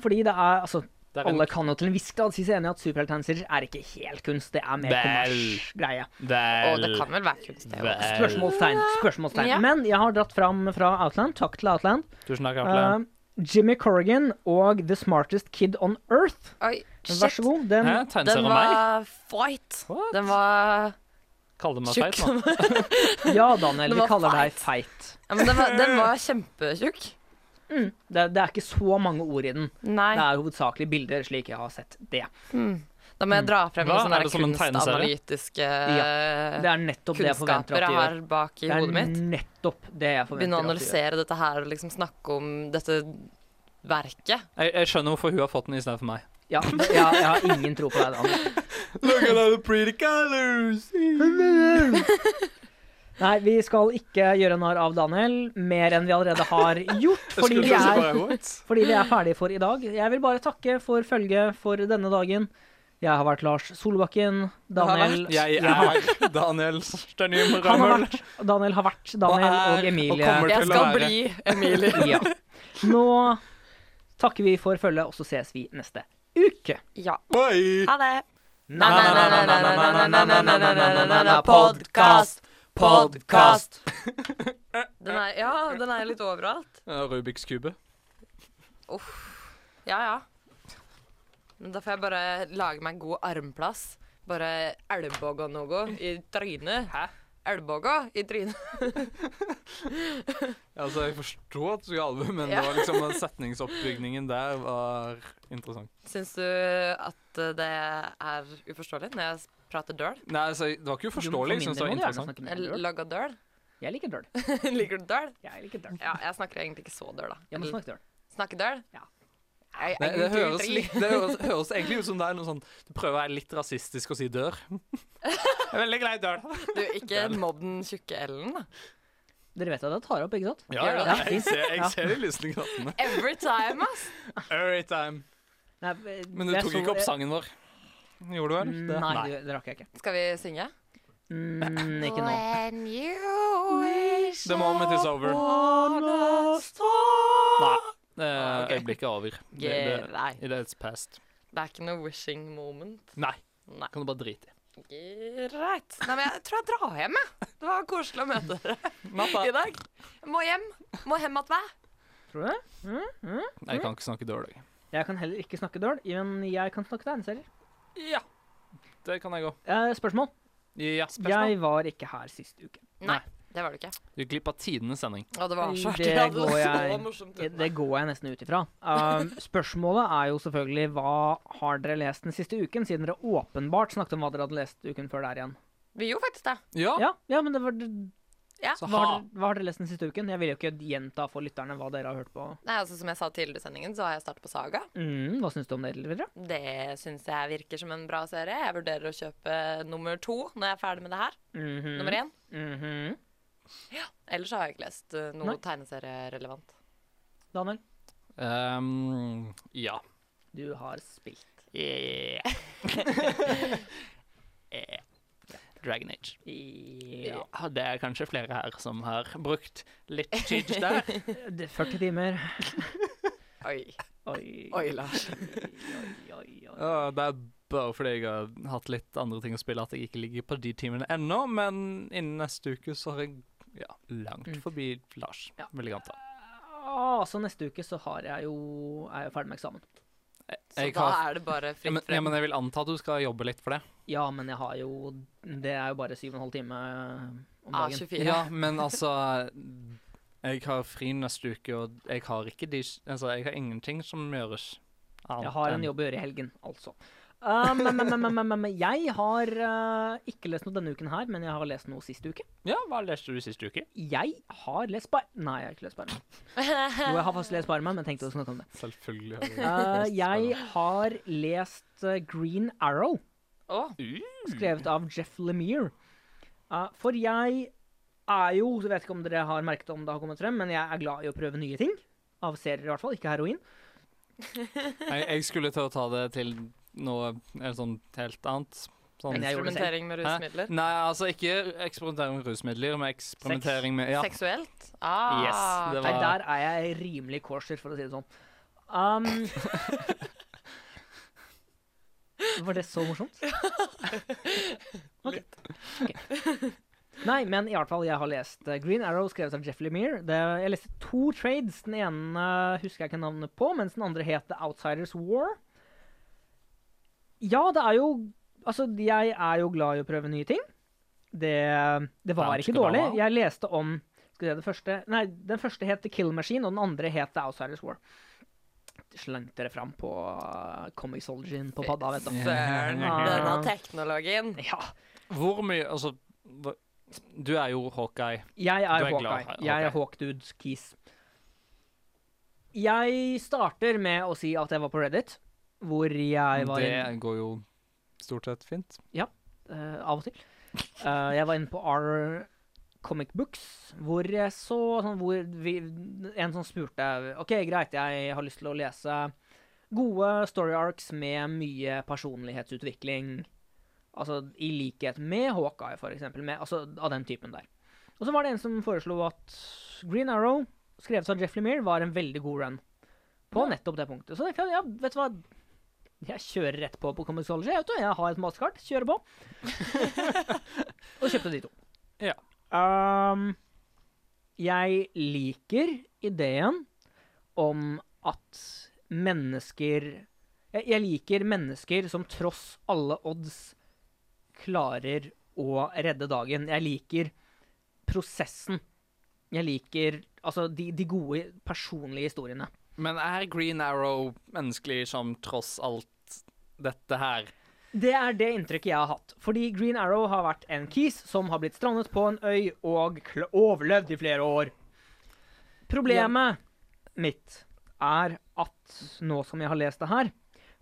Fordi det er altså Det er en- Alle kan jo til en viss grad si seg enig i at superhelttegneserier er ikke helt kunst. Det er mer Vel. kommers greie. Og Vel det kan vel være kunst, det òg. Spørsmålstegn. spørsmålstegn. Ja. Men jeg har dratt fram fra Outland. Takk til Outland. Tusen takk, Atle. Eh, Jimmy Corrigan og The Smartest Kid on Earth. Oi, shit. Vær så god. Den, Hæ? Tegneserie Den om meg? var fight. What? Den var Kaller du meg tjukk. feit nå? ja, Daniel, Den vi var kaller deg feit. Ja, men den var, den var kjempetjukk. Det, det er ikke så mange ord i den. Nei. Det er hovedsakelig bilder, slik jeg har sett det. Da må jeg dra frem Hva? noen sånne Er det som en der kunstanalytiske Det er nettopp det jeg forventer kunnskaper at du jeg har gjør. bak i Det er hodet mitt. nettopp det jeg Begynne å forventer at du gjør. analysere dette her og liksom snakke om dette verket. Jeg, jeg skjønner hvorfor hun har fått den istedenfor meg. Ja, det- ja, jeg har ingen tro på deg, [laughs] Daniel. Look at all the pretty colors! Nei, vi skal ikke gjøre narr av Daniel mer enn vi allerede har gjort. Fordi vi er, fordi vi er ferdige for i dag. Jeg vil bare takke for følget for denne dagen. Jeg har vært Lars Solbakken. Daniel Jeg er Daniel Sternum han har Rømmel. vært, Daniel har vært Daniel Og er- og Emilie. og kommer Jeg til å skal være. bli Emilie. Ja. Nå takker vi for følget, og så ses vi neste uke. Ja. Bye! Ha det. Podcast. Podcast. [laughs] Den er, ja, den er litt overalt. Ja, Rubiks kube. Ja, ja. Men da får jeg bare lage meg god armplass. Bare elboga noe i trynet. Hæ? Elboga i trynet. Altså, jeg forstod at du skulle albu, men Ja. det var liksom den setningsoppbygningen der var interessant. Syns du at det er uforståelig når jeg prater døl? Nei, altså, det var ikke uforståelig. Jeg synes det var altså. interessant. Jeg interessant. lager døl. [laughs] Jeg liker døl. Liker du døl? Jeg liker døl. Ja, jeg snakker egentlig ikke så døl, da. Jeg må snakke døl. Snakke døl? Ja. Jeg, Det, jeg, det, høres jeg- litt, det høres, høres egentlig ut som det er noe sånn Du prøver å være litt rasistisk og si [laughs] dør. Jeg er veldig glad i dør. Du, [laughs] ikke mobb den tjukke Ellen, da. Dere vet at jeg tar opp, ikke sant? Ja, ja, Ja, jeg fint. ser, jeg Ja. ser de lysne knappene. [laughs] Every time, ass. Every time. Nei, Men du jeg tok så- ikke opp sangen vår. Gjorde du vel? Nei, det, det rakk jeg ikke. Skal vi synge? Mm, ikke nå. When you wish The moment is over. Nei. eh, ok. Øyeblikket er over. Det, Yeah, det, nei. it is past. Det er ikke noe wishing moment. Nei. Nei. Kan du bare drite i. Greit. Nei, men jeg tror jeg drar hjem, jeg. Det var koselig å møte [laughs] dere i dag. Må hjem. Må hjem att vær. Tror du det? Nei, jeg kan ikke snakke dårlig. Jeg kan heller ikke snakke døl, men jeg kan snakke tegneserier. Ja. Det kan jeg òg. Eh, spørsmål? Ja. Jeg var ikke her sist uke. Nei. Det var du ikke. Du gikk glipp av tidenes sending. Og det var så artig. Det Ja, det går var så morsomt. jeg, det går jeg nesten ut ifra. [laughs] Um, spørsmålet er jo selvfølgelig hva har dere lest den siste uken, siden dere åpenbart snakket om hva dere hadde lest uken før der igjen. Vi gjorde faktisk det. Ja. Ja, ja men det var, Ja. hva, har, dere- hva har dere lest den siste uken? Jeg vil jo ikke gjenta for lytterne hva dere har hørt på. Nei, altså Som jeg sa tidligere i sendingen, så har jeg startet på Saga. Mm, hva syns du om det, Elvira? Det syns jeg virker som en bra serie. Jeg vurderer å kjøpe nummer to når jeg er ferdig med det her. Mhm. Nummer én. Mhm. Ellers har jeg ikke lest eh, noe Nei. tegneserierelevant. Daniel, Ehm, ja. du har spilt. [laughs] Eh, Dragon Age. Ja. Ja, Det er kanskje flere her som har brukt litt tid [laughs] der. Det er 40 timer. Oi. Oi. Oi, Lars. Oi, oi, oi. Ja, det er bare fordi jeg har hatt litt andre ting å spille at jeg ikke ligger på de timene ennå, men innen neste uke så har jeg ja, langt Mm. forbi Lars, Ja. vil jeg anta. Ah, så neste uke så har jeg jo, er jeg jo ferdig med eksamen. [laughs] Så Jeg da har- er det bare Ja, fritt men, ja, frem. men jeg vil anta at du skal jobbe litt for det. Ja, men jeg har jo Det er jo bare 7,5 time eh, om dagen. A24. [laughs] [laughs] Ja, men altså Jeg har fri neste uke, og jeg har ikke de Altså, jeg har ingenting som gjøres annet Jeg har en enn- jobb å gjøre i helgen, altså. Eh, men, men, men, men, men, men jeg har eh, ikke lest noe denne uken her, men jeg har lest noe sist uke. Ja, hva leste du sist uke? Jeg har lest Bar... Nei, jeg har ikke lest Barman. Jo, jeg har faktisk lest Barman, men jeg tenkte å snakke om det. Selvfølgelig. Eh, jeg har lest eh, Green Arrow. Å, skrevet av Jeff Lemire. Eh, for jeg er jo Jeg vet ikke om dere har merket om det har kommet frem, men jeg er glad i å prøve nye ting. Av serier, i hvert fall. Ikke heroin. [laughs] Jeg, jeg skulle til å ta det til noe eller sånn helt annet. Sånn. Men jeg gjorde det selv. Eksperimentering med Hæ? rusmidler. Nei, altså ikke eksperimentering med rusmidler, men eksperimentering med ja. Seksuelt? Ah, Yes, det Nei, var- der er jeg rimelig kosher, for å si det sånn. [laughs] Um, var det [laughs] så morsomt? Ok. Ok. Nei, men i hvert fall, jeg har lest eh, Green Arrow, skrevet av Jeff Lemire. Det, jeg leste to trades. Den ene eh, husker jeg ikke navnet på, mens den andre het The Outsiders War. Ja, det er jo Altså, jeg er jo glad i å prøve nye ting. Det, det var Frank ikke skal du dårlig. ha. Jeg leste om skal vi se, det første, nei, Den første het The Kill Machine, og den andre het The Outsiders War. Slengte dere fram på eh, Comic Soldier på padda, vet du. [laughs] Søren, denne teknologien. Ja. Hvor mye Altså, hva- du er jo Hawkeye. Jeg er, Du er glad i Hawkeye. Hawkeye. Jeg er Hawkdudes keys. Jeg starter med å si at jeg var på Reddit, hvor jeg var inn, Det går jo stort sett fint. eh, av og til. Eh, jeg var inne på R Comic Books, hvor jeg så sånn, hvor vi, En som spurte OK, greit, jeg har lyst til å lese gode story arcs med mye personlighetsutvikling. Altså i likhet med Hawkeye, for eksempel. Med, altså av den typen der. Og så var det en som foreslo at Green Arrow, skrevet av Jeff Lemire, var en veldig god run på nettopp det punktet. Så tenkte jeg, ja, vet du hva Jeg kjører rett på på Comixology. Jeg, vet du, jeg har et masterkart, kjører på. og kjøpte de to. Ja. Um, jeg liker ideen om at mennesker jeg, jeg liker mennesker som tross alle odds klarer å redde dagen. Jeg liker prosessen. Jeg liker altså de, de gode personlige historiene. Men er Green Arrow menneskelig som tross alt dette her? Det er det inntrykket jeg har hatt. Fordi Green Arrow har vært en kis som har blitt strandet på en øy og kl overlevd i flere år. Problemet mitt er at nå som jeg har lest det her,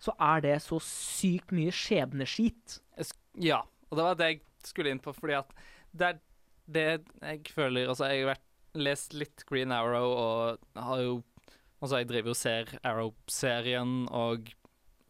så er det så sykt mye skjebneskit. Jeg sk- Ja. Og det var det jeg skulle inn på, fordi at det er det jeg føler Altså, jeg har vært, lest litt Green Arrow og har jo Altså, jeg driver jo og ser Arrow-serien og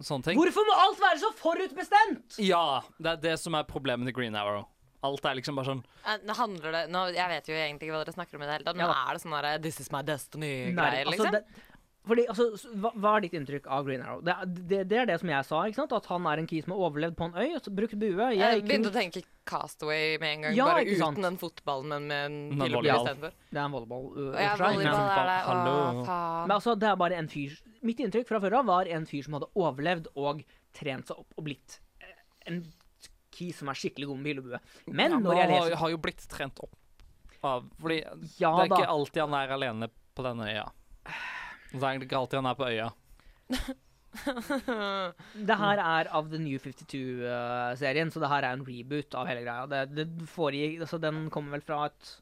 sånne ting. Hvorfor må alt være så forutbestemt?! Ja! Det er det som er problemet til Green Arrow. Alt er liksom bare sånn Eh, Nå handler det nå, Jeg vet jo egentlig ikke hva dere snakker om i det hele tatt. Nå Ja da. er det sånn derre This is my Nei, destiny-greier, altså, liksom. det, fordi, altså, s- hva, hva er ditt inntrykk av Green Arrow? Det, er- det, det er det som jeg sa, ikke sant? at han er en kis som har overlevd på en øy, og så brukt bue. Jeg Jeg Eh, kunne, begynte å tenke Castaway med en gang, Ja, bare ikke uten sant? den fotballen, men med en Men pil og bue volleyball. istedenfor. det er en volleyball. ø, Og jeg for seg, men- volleyball er det. Å, Hallo. faen. Men altså, det er bare en fyr Mitt inntrykk fra før av var en fyr som hadde overlevd og trent seg opp og blitt eh, en key som er skikkelig god med pil og bue. Men Ja, når jeg han har, leser har jo blitt trent opp. av Fordi Ja det er ikke da. alltid han er alene på denne øya. Det er ikke alltid han er på øya. Det her er av The New 52-serien, så det her er en reboot av hele greia. Det, det foregikk, altså Den kommer vel fra et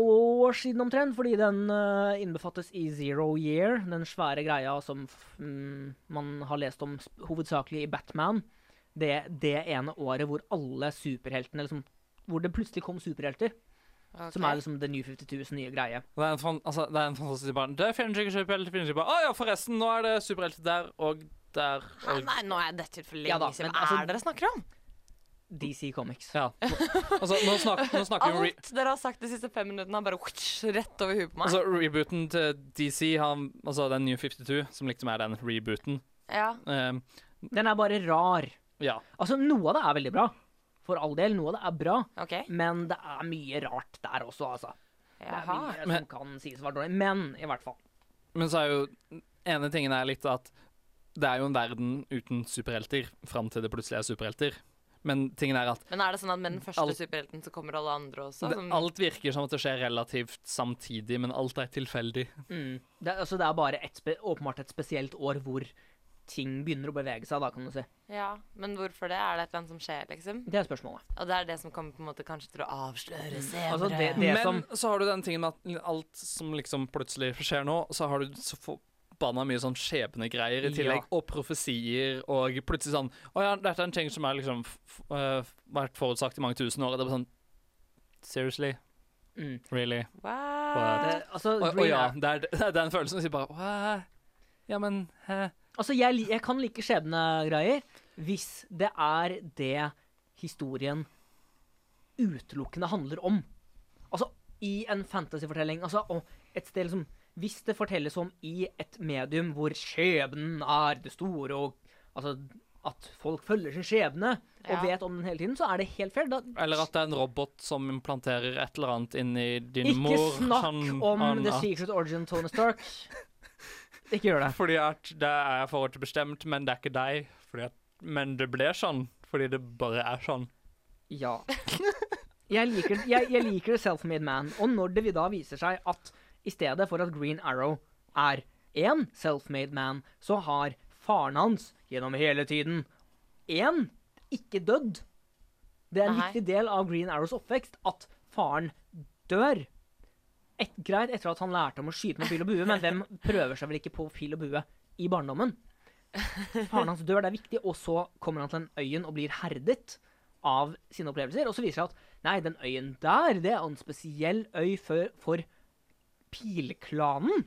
år siden omtrent, fordi den eh, innbefattes i Zero Year, den svære greia som f- mm, man har lest om sp- hovedsakelig i Batman. Det, det ene året hvor alle superheltene liksom, Hvor det plutselig kom superhelter. Som er liksom The New 52s nye greie. Det er en, fan, altså, det er en fantastisk barn. Det finnes ikke superhelter, finnes ikke bare Å ja, forresten, nå er det superhelter der og der Nei, og nei, nå er dette for lenge Ja da, siden. men Hva altså- er det dere snakker om? DC Comics. Ja. Altså, nå, snak, [laughs] nå snakker vi om re Alt dere har sagt de siste fem minuttene, er bare whoosh, rett over huet på meg. altså, rebooten til DC, han, altså den New 52, som liksom er den rebooten. ja. Ehm, Den er bare rar. ja. Altså, noe av det er veldig bra. For all del, noe av det er bra. Ok. Men det er mye rart der også, altså. Det er Jaha. mye som Ah, Men- kan sies å være dårlig. Men i hvert fall. Men så er jo ene tingen er litt at det er jo en verden uten superhelter fram til det plutselig er superhelter. Men tingen er at Men er det sånn at med den første Alt- superhelten så kommer alle andre også? det, Som, alt virker Sånn som at det skjer relativt samtidig, men alt er tilfeldig. Mm. Det, er- altså, det er bare et spe åpenbart et spesielt år hvor ting begynner å bevege seg, da, kan du si. ja, Men hvorfor det? Er det et eller annet som skjer, liksom? Det er spørsmålet. Og det er det som kommer på en måte kanskje til å avsløre senere? Altså, det, det Men som så har du den tingen med at alt som liksom plutselig skjer nå, så har du så forbanna mye sånn skjebnegreier i tillegg, og profesier, og plutselig sånn Å ja, dette er en ting som er liksom f f- øh, vært forutsagt i mange tusen år, og det er bare sånn Seriously? mm. Really? What? det, altså, Og, og Green ja, Arrow- det er, [laughs] det er den følelsen som sier bare Hæ? Ja, men hæ? altså jeg, li- jeg kan like skjebnegreier hvis det er det historien utelukkende handler om. Altså, i en fantasyfortelling altså, og et sted liksom, Hvis det fortelles om i et medium hvor skjebnen er det store, og altså, at folk følger sin skjebne og Ja. vet om den hele tiden, så er det helt fair. Da, Eller at det er en robot som implanterer et eller annet inni din ikke mor. snakk sånn, om han- The at- Secret Origin [laughs] Tony Stark. Ikke gjør det. Fordi at det er forhåndsbestemt, men det er ikke deg. Fordi at, men det ble sånn. Fordi det bare er sånn. Ja. [laughs] Jeg liker, jeg, jeg liker The Self-Made Man. Og når det da viser seg at i stedet for at Green Arrow er én self-made man, så har faren hans gjennom hele tiden én ikke dødd. Det er en Nei. viktig del av Green Arrows oppvekst at faren dør. Et, greit etter at han lærte om å skyte med pil og bue, men hvem prøver seg vel ikke på pil og bue i barndommen? Faren hans dør, det er viktig, og så kommer han til den øyen og blir herdet av sine opplevelser. Og så viser det seg at nei, den øyen der, det er en spesiell øy for, for pilklanen.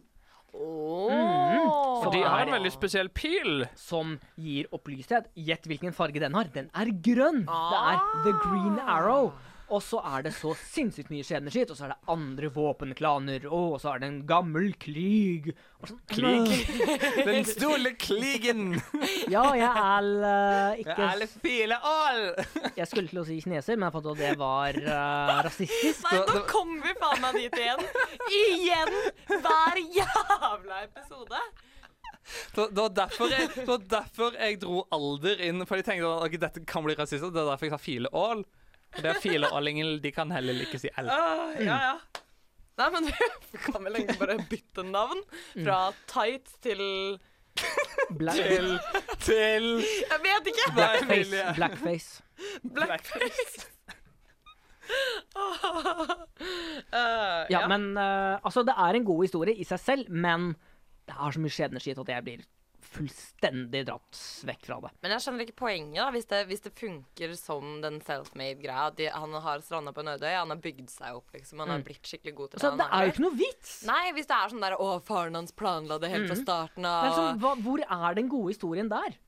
Åh. For de har en veldig spesiell pil. Som gir opplysthet. Gjett hvilken farge den har. Den er grønn! Det er The Green Arrow. Og så er det så sinnssykt mye skjebneskitt, og så er det andre våpenklaner, og så er det en gammel klyg. Og sånn, øh, Den store kligen. [laughs] Ja, jeg er eh, ikke file all. Jeg skulle til å si kineser, men jeg fant ut at det var eh, rasistisk. Nei, nå kommer vi faen meg dit igjen! Igjen! Hver jævla episode! Det det var derfor jeg, det var derfor jeg dro alder inn. For jeg tenkte at ok, dette kan bli rasistisk. Det er derfor jeg sa file all. Og det er fileallingen. De kan heller ikke si l. Åh, ja, ja. Nei, men [laughs] du kan vel egentlig bare bytte navn. Fra tights til Black, Til Jeg vet ikke! blackface. blackface. [laughs] Blackface. Eh, Ja, men eh, altså, det er en god historie i seg selv, men det er så mye skjebneskitt at jeg blir fullstendig dratt vekk fra det. Men jeg skjønner ikke poenget, da, hvis det, hvis det funker som den self-made-greia. at de- Han har stranda på en øde øy, han har bygd seg opp, liksom. Han har blitt skikkelig god til Altså, det han har er jo vært. ikke noe vits! Nei, hvis det er sånn der Å, faren hans planla Mm. det sånn helt fra starten Det av. er liksom, hva, hvor er den gode historien der?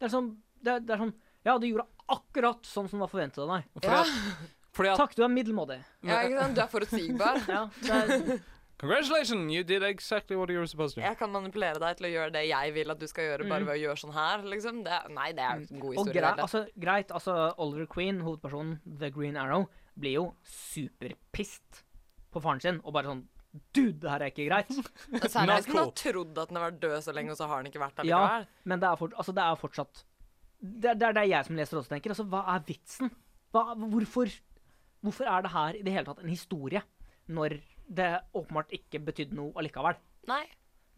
Det er sånn, det er, det er sånn Ja, du gjorde akkurat sånn som var forventet av deg. Fordi at, fordi at Takk, du er middelmådig. ja, ikke sant? Du er forutsigbar. Ja, det er, Congratulations, you did exactly what you were supposed to. Jeg kan manipulere deg til å gjøre det jeg vil at du skal gjøre, bare ved å gjøre sånn her, liksom. Det, er- nei, det er jo ikke en god Mm. og historie. grei, rett og slett. altså, greit, altså Oliver Queen, hovedpersonen, The Green Arrow, blir jo superpissed på faren sin og bare sånn Dude, det her er ikke greit. [laughs] Og Seriøst, Not hun cool. har trodd at den har vært død så lenge, og så har den ikke vært der Ja, likevel. men det er, fort, altså det er fortsatt det, er- det er det jeg som leser også tenker. Altså, hva er vitsen? Hva, hvorfor Hvorfor er det her i det hele tatt en historie, når det åpenbart ikke betydde noe allikevel? Nei.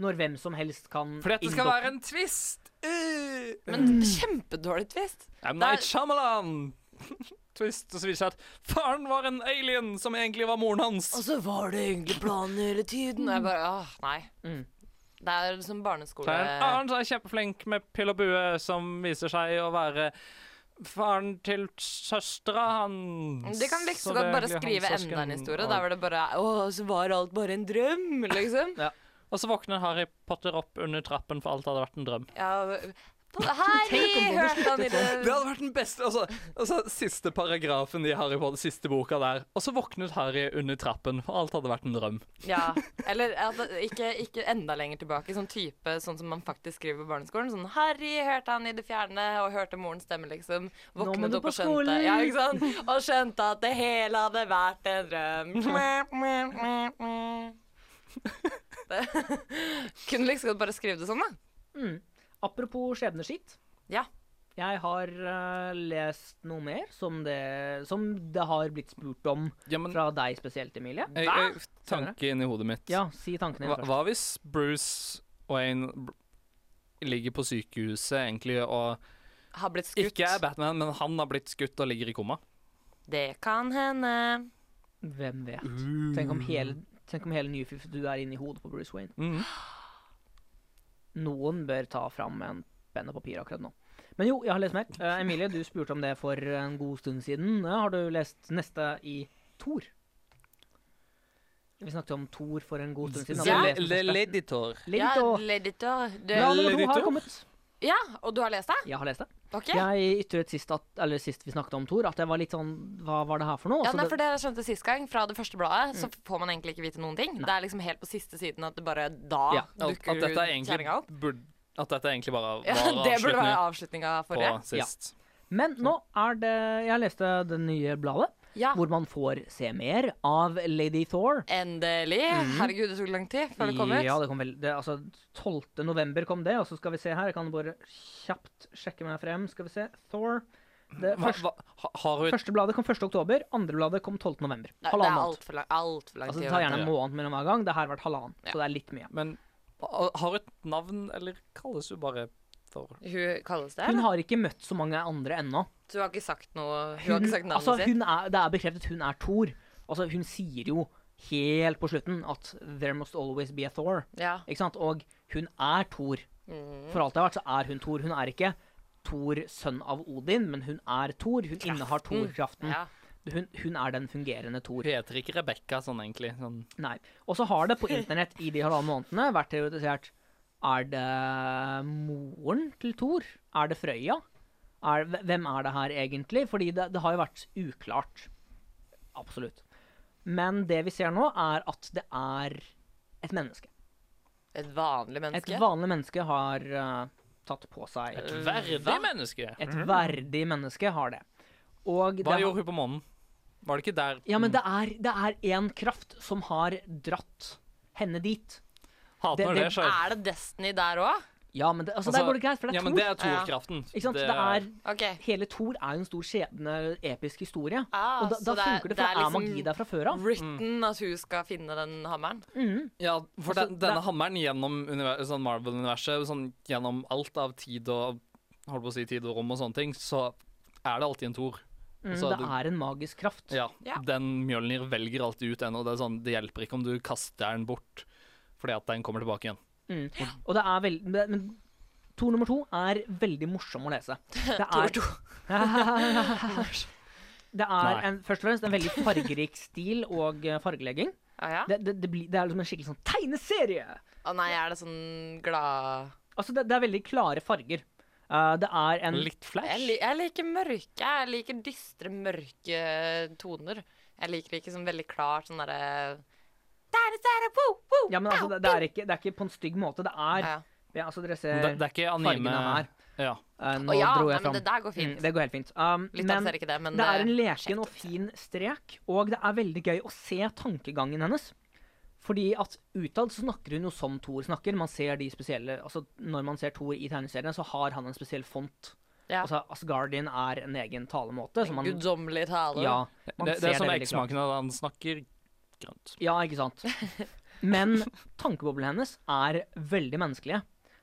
Når hvem som helst kan Fordi at det skal inndokke- være en twist! Øh. Men Mm. kjempedårlig twist. M. Night Shyamalan! [laughs] twist, og så viser det seg at faren var en alien som egentlig var moren hans. Og så var det egentlig planen hele tiden. Og jeg bare Mm. åh, nei. Det er som barneskole... Så er det en annen Eh, som er kjempeflink med pil og bue, som viser seg å være faren til søstera hans. De kan like så det er godt bare egentlig skrive hans søsken, enda en historie. og- Der var det bare Å, så var alt bare en drøm, liksom. Og så våkner Harry Potter opp under trappen, for alt hadde vært en drøm. Ja, Harry hørte han i det Det hadde vært den beste altså, altså, Siste paragrafen i Harry Potter, siste boka der. Og så våknet Harry under trappen, for alt hadde vært en drøm. Ja, eller altså, ikke, ikke enda lenger tilbake, sånn type sånn som man faktisk skriver på barneskolen. Sånn 'Harry hørte han i det fjerne, og hørte morens stemme', liksom. må Våknet du opp på og skjønte skolen. ja, ikke sant? Og skjønte at det hele hadde vært en drøm. Mæ, mæ, mæ, mæ. Det, [laughs] kunne like så godt bare skrive det sånn, da. Mm. Apropos skjebneskitt. Ja. Jeg har eh, lest noe mer som det, som det har blitt spurt om fra deg spesielt, Emilie. Jeg, jeg, tanke inni hodet mitt. Ja, si tankene Hva, dine først. hva hvis Bruce Wayne br- ligger på sykehuset egentlig og Har blitt skutt. ikke er Batman, men han har blitt skutt og ligger i koma? Det kan hende. Hvem vet? Tenk om hele, tenk om hele New 52 er inni hodet på Bruce Wayne. Noen bør ta fram en penn og papir akkurat nå. Men jo, jeg har lest mer. Eh, Emilie, du spurte om det for en god stund siden. Eh, har du lest neste i Thor? Vi snakket om Thor for en god stund siden. Har du Ja. lest den første? Leditor. Ja, Ledito. Leditor. Det- Bra nummer to har kommet. Ja, og du har lest det? Jeg har lest det. Ok. Jeg ytret sist, at, eller sist vi snakket om Thor, at jeg var litt sånn Hva var det her for noe? Ja, Så Altså, nei, det- Mm. for det jeg skjønte sist gang, fra det første bladet, så får man egentlig ikke vite noen ting. Det er liksom helt på siste siden at det bare da Ja, at, dukker at dette egentlig kjerringa opp. burde At dette egentlig bare var [laughs] Ja, det burde være avslutningen avslutninga av på forrige. sist. Men nå er det Jeg leste det nye bladet, Ja. hvor man får se mer av Lady Thor. Endelig. Herregud, det tok lang tid før det kom ut. Mhm. Ja, det kom vel det, Altså, 12. november kom det, og så skal vi se her. Jeg kan bare kjapt sjekke meg frem. Skal vi se. Thor. Det Hva, første, hva, ha- har hun første bladet kom 1. oktober, andre bladet kom 12. november. Nei, det Halvannen er måned. altfor lang, alt for lang Altså, tid. det å tar vente. gjerne en måned mellom hver gang. Det her har vært halvannen, så det er litt mye. Men ha- har hun et navn, eller kalles hun bare Thor? Hun kalles det? Hun eller? har ikke møtt så mange andre ennå. Så hun har ikke sagt noe Hun har ikke sagt navnet altså, sitt? hun er, det er bekreftet hun er Thor. Altså, hun sier jo helt på slutten at 'there must always be a Thor'. Ja. Ikke sant? Og hun er Thor. For alt det har vært, så er hun Thor. Hun er ikke Thor, sønn av Odin, men hun er Thor. Hun innehar Thor-kraften. Ja. Hun, hun er den fungerende Thor. Hun heter ikke Rebekka sånn, egentlig. Sånn. Nei. Og så har det på internett i de halvannen månedene vært teoretisert Er det moren til Thor? Er det Frøya? Er, hvem er det her egentlig? Fordi det, det har jo vært uklart. Absolutt. Men det vi ser nå, er at det er et menneske. Et vanlig menneske? Et vanlig menneske har eh, tatt på seg Et verdig menneske. Et verdig menneske har det. Og Hva det, gjorde hun på månen? Var det ikke der ja, men det er, det er en kraft som har dratt henne dit. Hater når det- det skjer. Er det Destiny der òg? Ja, men det, altså, der går det greit, for det er ja, Thor. men det er Thor-kraften. Ikke sant? Det er, OK. hele Thor er jo en stor skjebne, episk historie. Ah, og da, så da det er- funker det, for det det er er, liksom magi Mm. der fra før av. Written at hun skal finne den hammeren? Ja, for den, Altså, det denne er- hammeren gjennom univer- sånn Marvel-universet, sånn, gjennom alt av tid og holdt på å si tid og rom og sånne ting, så er det alltid en Thor. Mm, Altså, det er en magisk kraft. Ja, Ja. Den Mjølnir velger alltid ut en, og det, er sånn, det hjelper ikke om du kaster den bort fordi at den kommer tilbake igjen. Mm. Og det er veldig Men men Thor nummer to er veldig morsom å [laughs] lese. Det er, [laughs] det er Nei. en, først og fremst en veldig fargerik stil og eh, fargelegging. Å Ah, ja? Det, det, det, blir, det er liksom en skikkelig sånn tegneserie. Å nei, er det sånn glad Altså, det, det er veldig klare farger. Eh, det er en Litt flash. Jeg, li jeg liker mørke. Jeg liker dystre, mørke toner. Jeg liker ikke sånn veldig klart sånn derre Der, der, woo, woo, Ja, men altså, det, det, er ikke, det er ikke på en stygg måte. Det er Ja. ja, altså, Dere Men ser det, det er ikke anime fargene her. Ja. Eh, nå Å ja, dro nei, jeg men fram. det der går fint. Mm, det går helt fint. Um, Lytteren ser ikke det, men det er en eh, leken og fin strek, og det er veldig gøy å se tankegangen hennes. Fordi at utad så snakker hun jo som Thor snakker. Man ser de spesielle Altså, når man ser Thor i tegneseriene, så har han en spesiell font. Altså, Asgardian er en egen talemåte. som man- Guddommelig tale. Ja, man Det, det er sånn ser som veldig klart. eksmaken at han snakker grønt. Ja, ikke sant. Men [laughs] tankeboblene hennes er veldig menneskelige.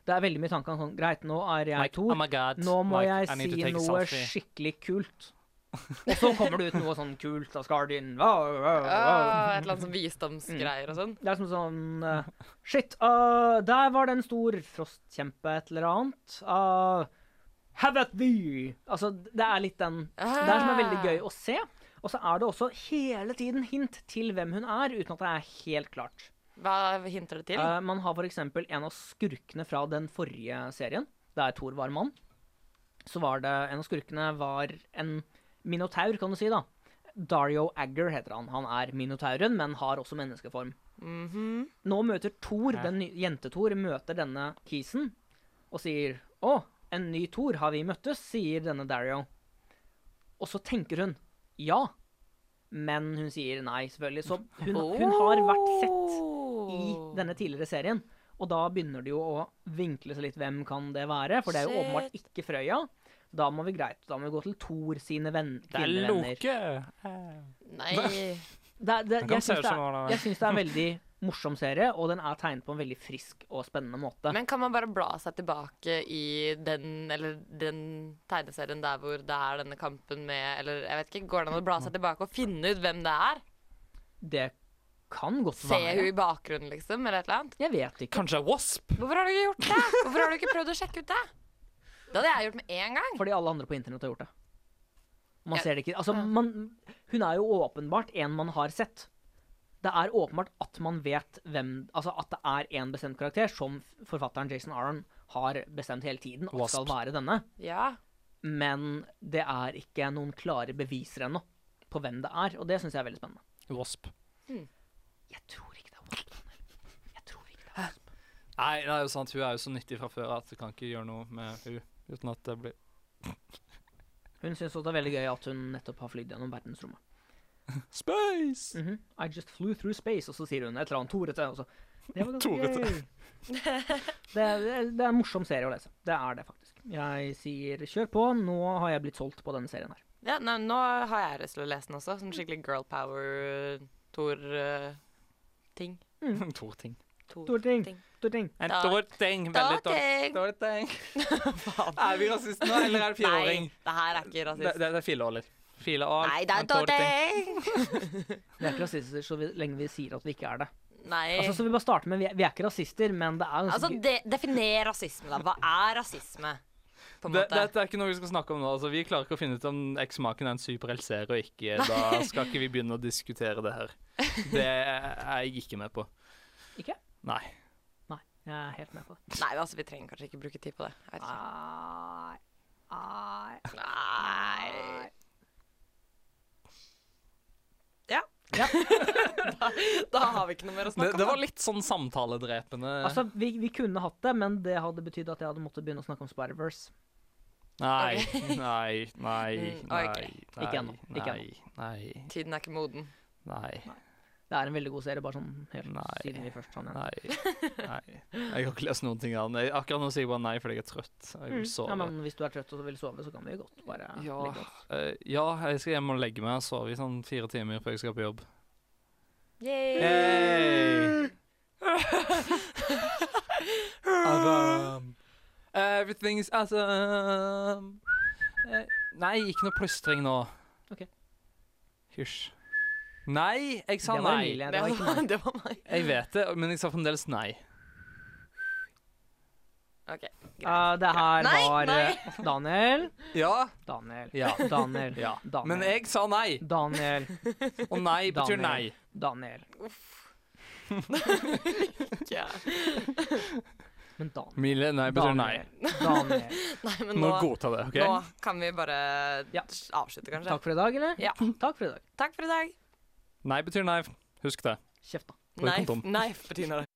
Det er veldig mye tanker om sånn Greit, nå er jeg Like, Thor. oh my God, nå må like, I need to jeg si take a noe selfie. skikkelig kult. [laughs] Og så kommer det ut noe sånn kult av Skardin. Wow, wow, wow. Ah, et eller annet sånn visdomsgreier og sånn. Det er som sånn eh, Shit, ah, der var det en stor frostkjempe, et eller annet. Ah, have at thee! Altså, det er litt den Det er som er veldig gøy å se. Og så er det også hele tiden hint til hvem hun er, uten at det er helt klart. Hva hinter det til? Eh, man har f.eks. en av skurkene fra den forrige serien, der Thor var mann. Så var det En av skurkene var en minotaur, kan du si, da. Dario Agger heter han. Han er minotauren, men har også menneskeform. Mhm. Nå møter Thor, den ny- jente-Thor, møter denne kisen og sier Å, en ny Thor, har vi møttes? sier denne Dario. Og så tenker hun ja, men hun sier nei, selvfølgelig. Så hun, hun har vært sett i Oh. denne tidligere serien. Og da begynner det jo å vinkle seg litt hvem kan det være, for det er jo åpenbart ikke Frøya. Da må vi greit, da må vi gå til Thor sine venn, Det er kvinnevenner. Loke! Eh, Nei Det, er- det, Han kan jeg se syns ut det, som er- han er- jeg syns det er en veldig morsom serie, og den er tegnet på en veldig frisk og spennende måte. Men kan man bare bla seg tilbake i den, eller den tegneserien der hvor det er denne kampen med Eller jeg vet ikke, går det an å bla seg tilbake og finne ut hvem det er? det kan godt Se være. hun i bakgrunnen, liksom, eller et eller annet? Jeg vet ikke. Kanskje det er Wasp? Hvorfor har du ikke gjort det? Hvorfor har du ikke prøvd å sjekke ut det? Det hadde jeg gjort med en gang. Fordi alle andre på internett har gjort det. Man ser det ikke. Altså, man, hun er jo åpenbart en man har sett. Det er åpenbart at man vet hvem Altså at det er en bestemt karakter som f- forfatteren Jason Aron har bestemt hele tiden at skal være denne. Ja. Men det er ikke noen klare beviser ennå på hvem det er, og det syns jeg er veldig spennende. Wasp. Jeg tror ikke det er Wasp. Nei, det er jo sant. Hun er jo så nyttig fra før at du kan ikke gjøre noe med hun uten at det blir Hun syns også det er veldig gøy at hun nettopp har flydd gjennom verdensrommet. Space! I just flew through space, og så sier hun et eller annet Torete. Og så. Det [laughs] var ganske Torete. gøy. Det er, det er- det er en morsom serie å lese. Det er det, faktisk. Jeg sier kjør på, nå har jeg blitt solgt på denne serien her. ja nei, nå har jeg lyst til å lese den også. Sånn skikkelig girl eh, power-tor-ting. Mhm. [laughs] Tor ting. Torting, torting. En tor ting. Veldig tor tor ting. Er vi rasister nå, eller er det fireåring? Nei, det her er ikke Det, rasist. det, det er fileåler. Fileår. Nei, det er en tor ting. Vi er ikke rasister så vi- lenge vi sier at vi ikke er det. Nei. Eh. Altså, så vi bare starter med, vi er, vi er ikke rasister, men det er ganske Altså, gøy. de, definer rasisme, da. Hva er rasisme? På en Det, måte. dette er ikke noe vi skal snakke om nå. Altså, vi klarer ikke å finne ut om eksmaken er en superhelt serie og ikke. Da Nei. skal ikke vi begynne å diskutere det her. Det er jeg ikke med på. Ikke? Nei. Nei, jeg er helt med på det. Nei, altså, vi trenger kanskje ikke bruke tid på det. Jeg vet ikke. Nei, nei, Nei. Ja. [laughs] Ja. da, da har vi ikke noe mer å Det, snakke om. det var litt sånn samtaledrepende. Altså, vi, vi kunne hatt det, men det hadde betydd at jeg hadde måttet begynne å snakke om Spider-Verse. Nei, nei, nei, Mm, nei. ok. nei, Ikke ennå, ikke Nei, nei, da. Tiden er ikke moden. nei, Det er en veldig god serie, bare sånn helt Nei. siden vi først sa den. nei. nei. Jeg har ikke lest noen ting av den. Jeg- Akkurat nå sier jeg bare nei fordi jeg er trøtt. og Jeg vil Ja, sove. men hvis du er trøtt og vil sove, så kan vi godt bare Ja, legge oss. eh, ja, jeg skal hjem og legge meg og sove i sånn fire timer før jeg skal på jobb. [laughs] Hey! Adam. Everything's awesome. Eh, Nei, ikke noe plystring nå. Ok. Hysj. Nei, jeg sa Det var nei. Emilie, det var ikke meg. [laughs] det var meg. [laughs] Jeg vet det, men jeg sa fremdeles nei. OK. Eh, det her Nei, var nei. eh, Daniel. Ja. Daniel. Ja. Daniel. ja. Daniel. Men jeg sa nei, Daniel. og nei betyr Daniel. nei. Daniel. Ja. Men Dan Mille, nei betyr nei. Daniel. [laughs] Daniel. Nei, men Nå nå, godta det, nå OK? kan vi bare Ja. avslutte, kanskje. Takk for i dag, eller? Ja. Takk for i dag. Takk for i dag. Nei betyr nei. Husk det. Kjeft, da. Bruk kondom. Nei, nei, betyr det.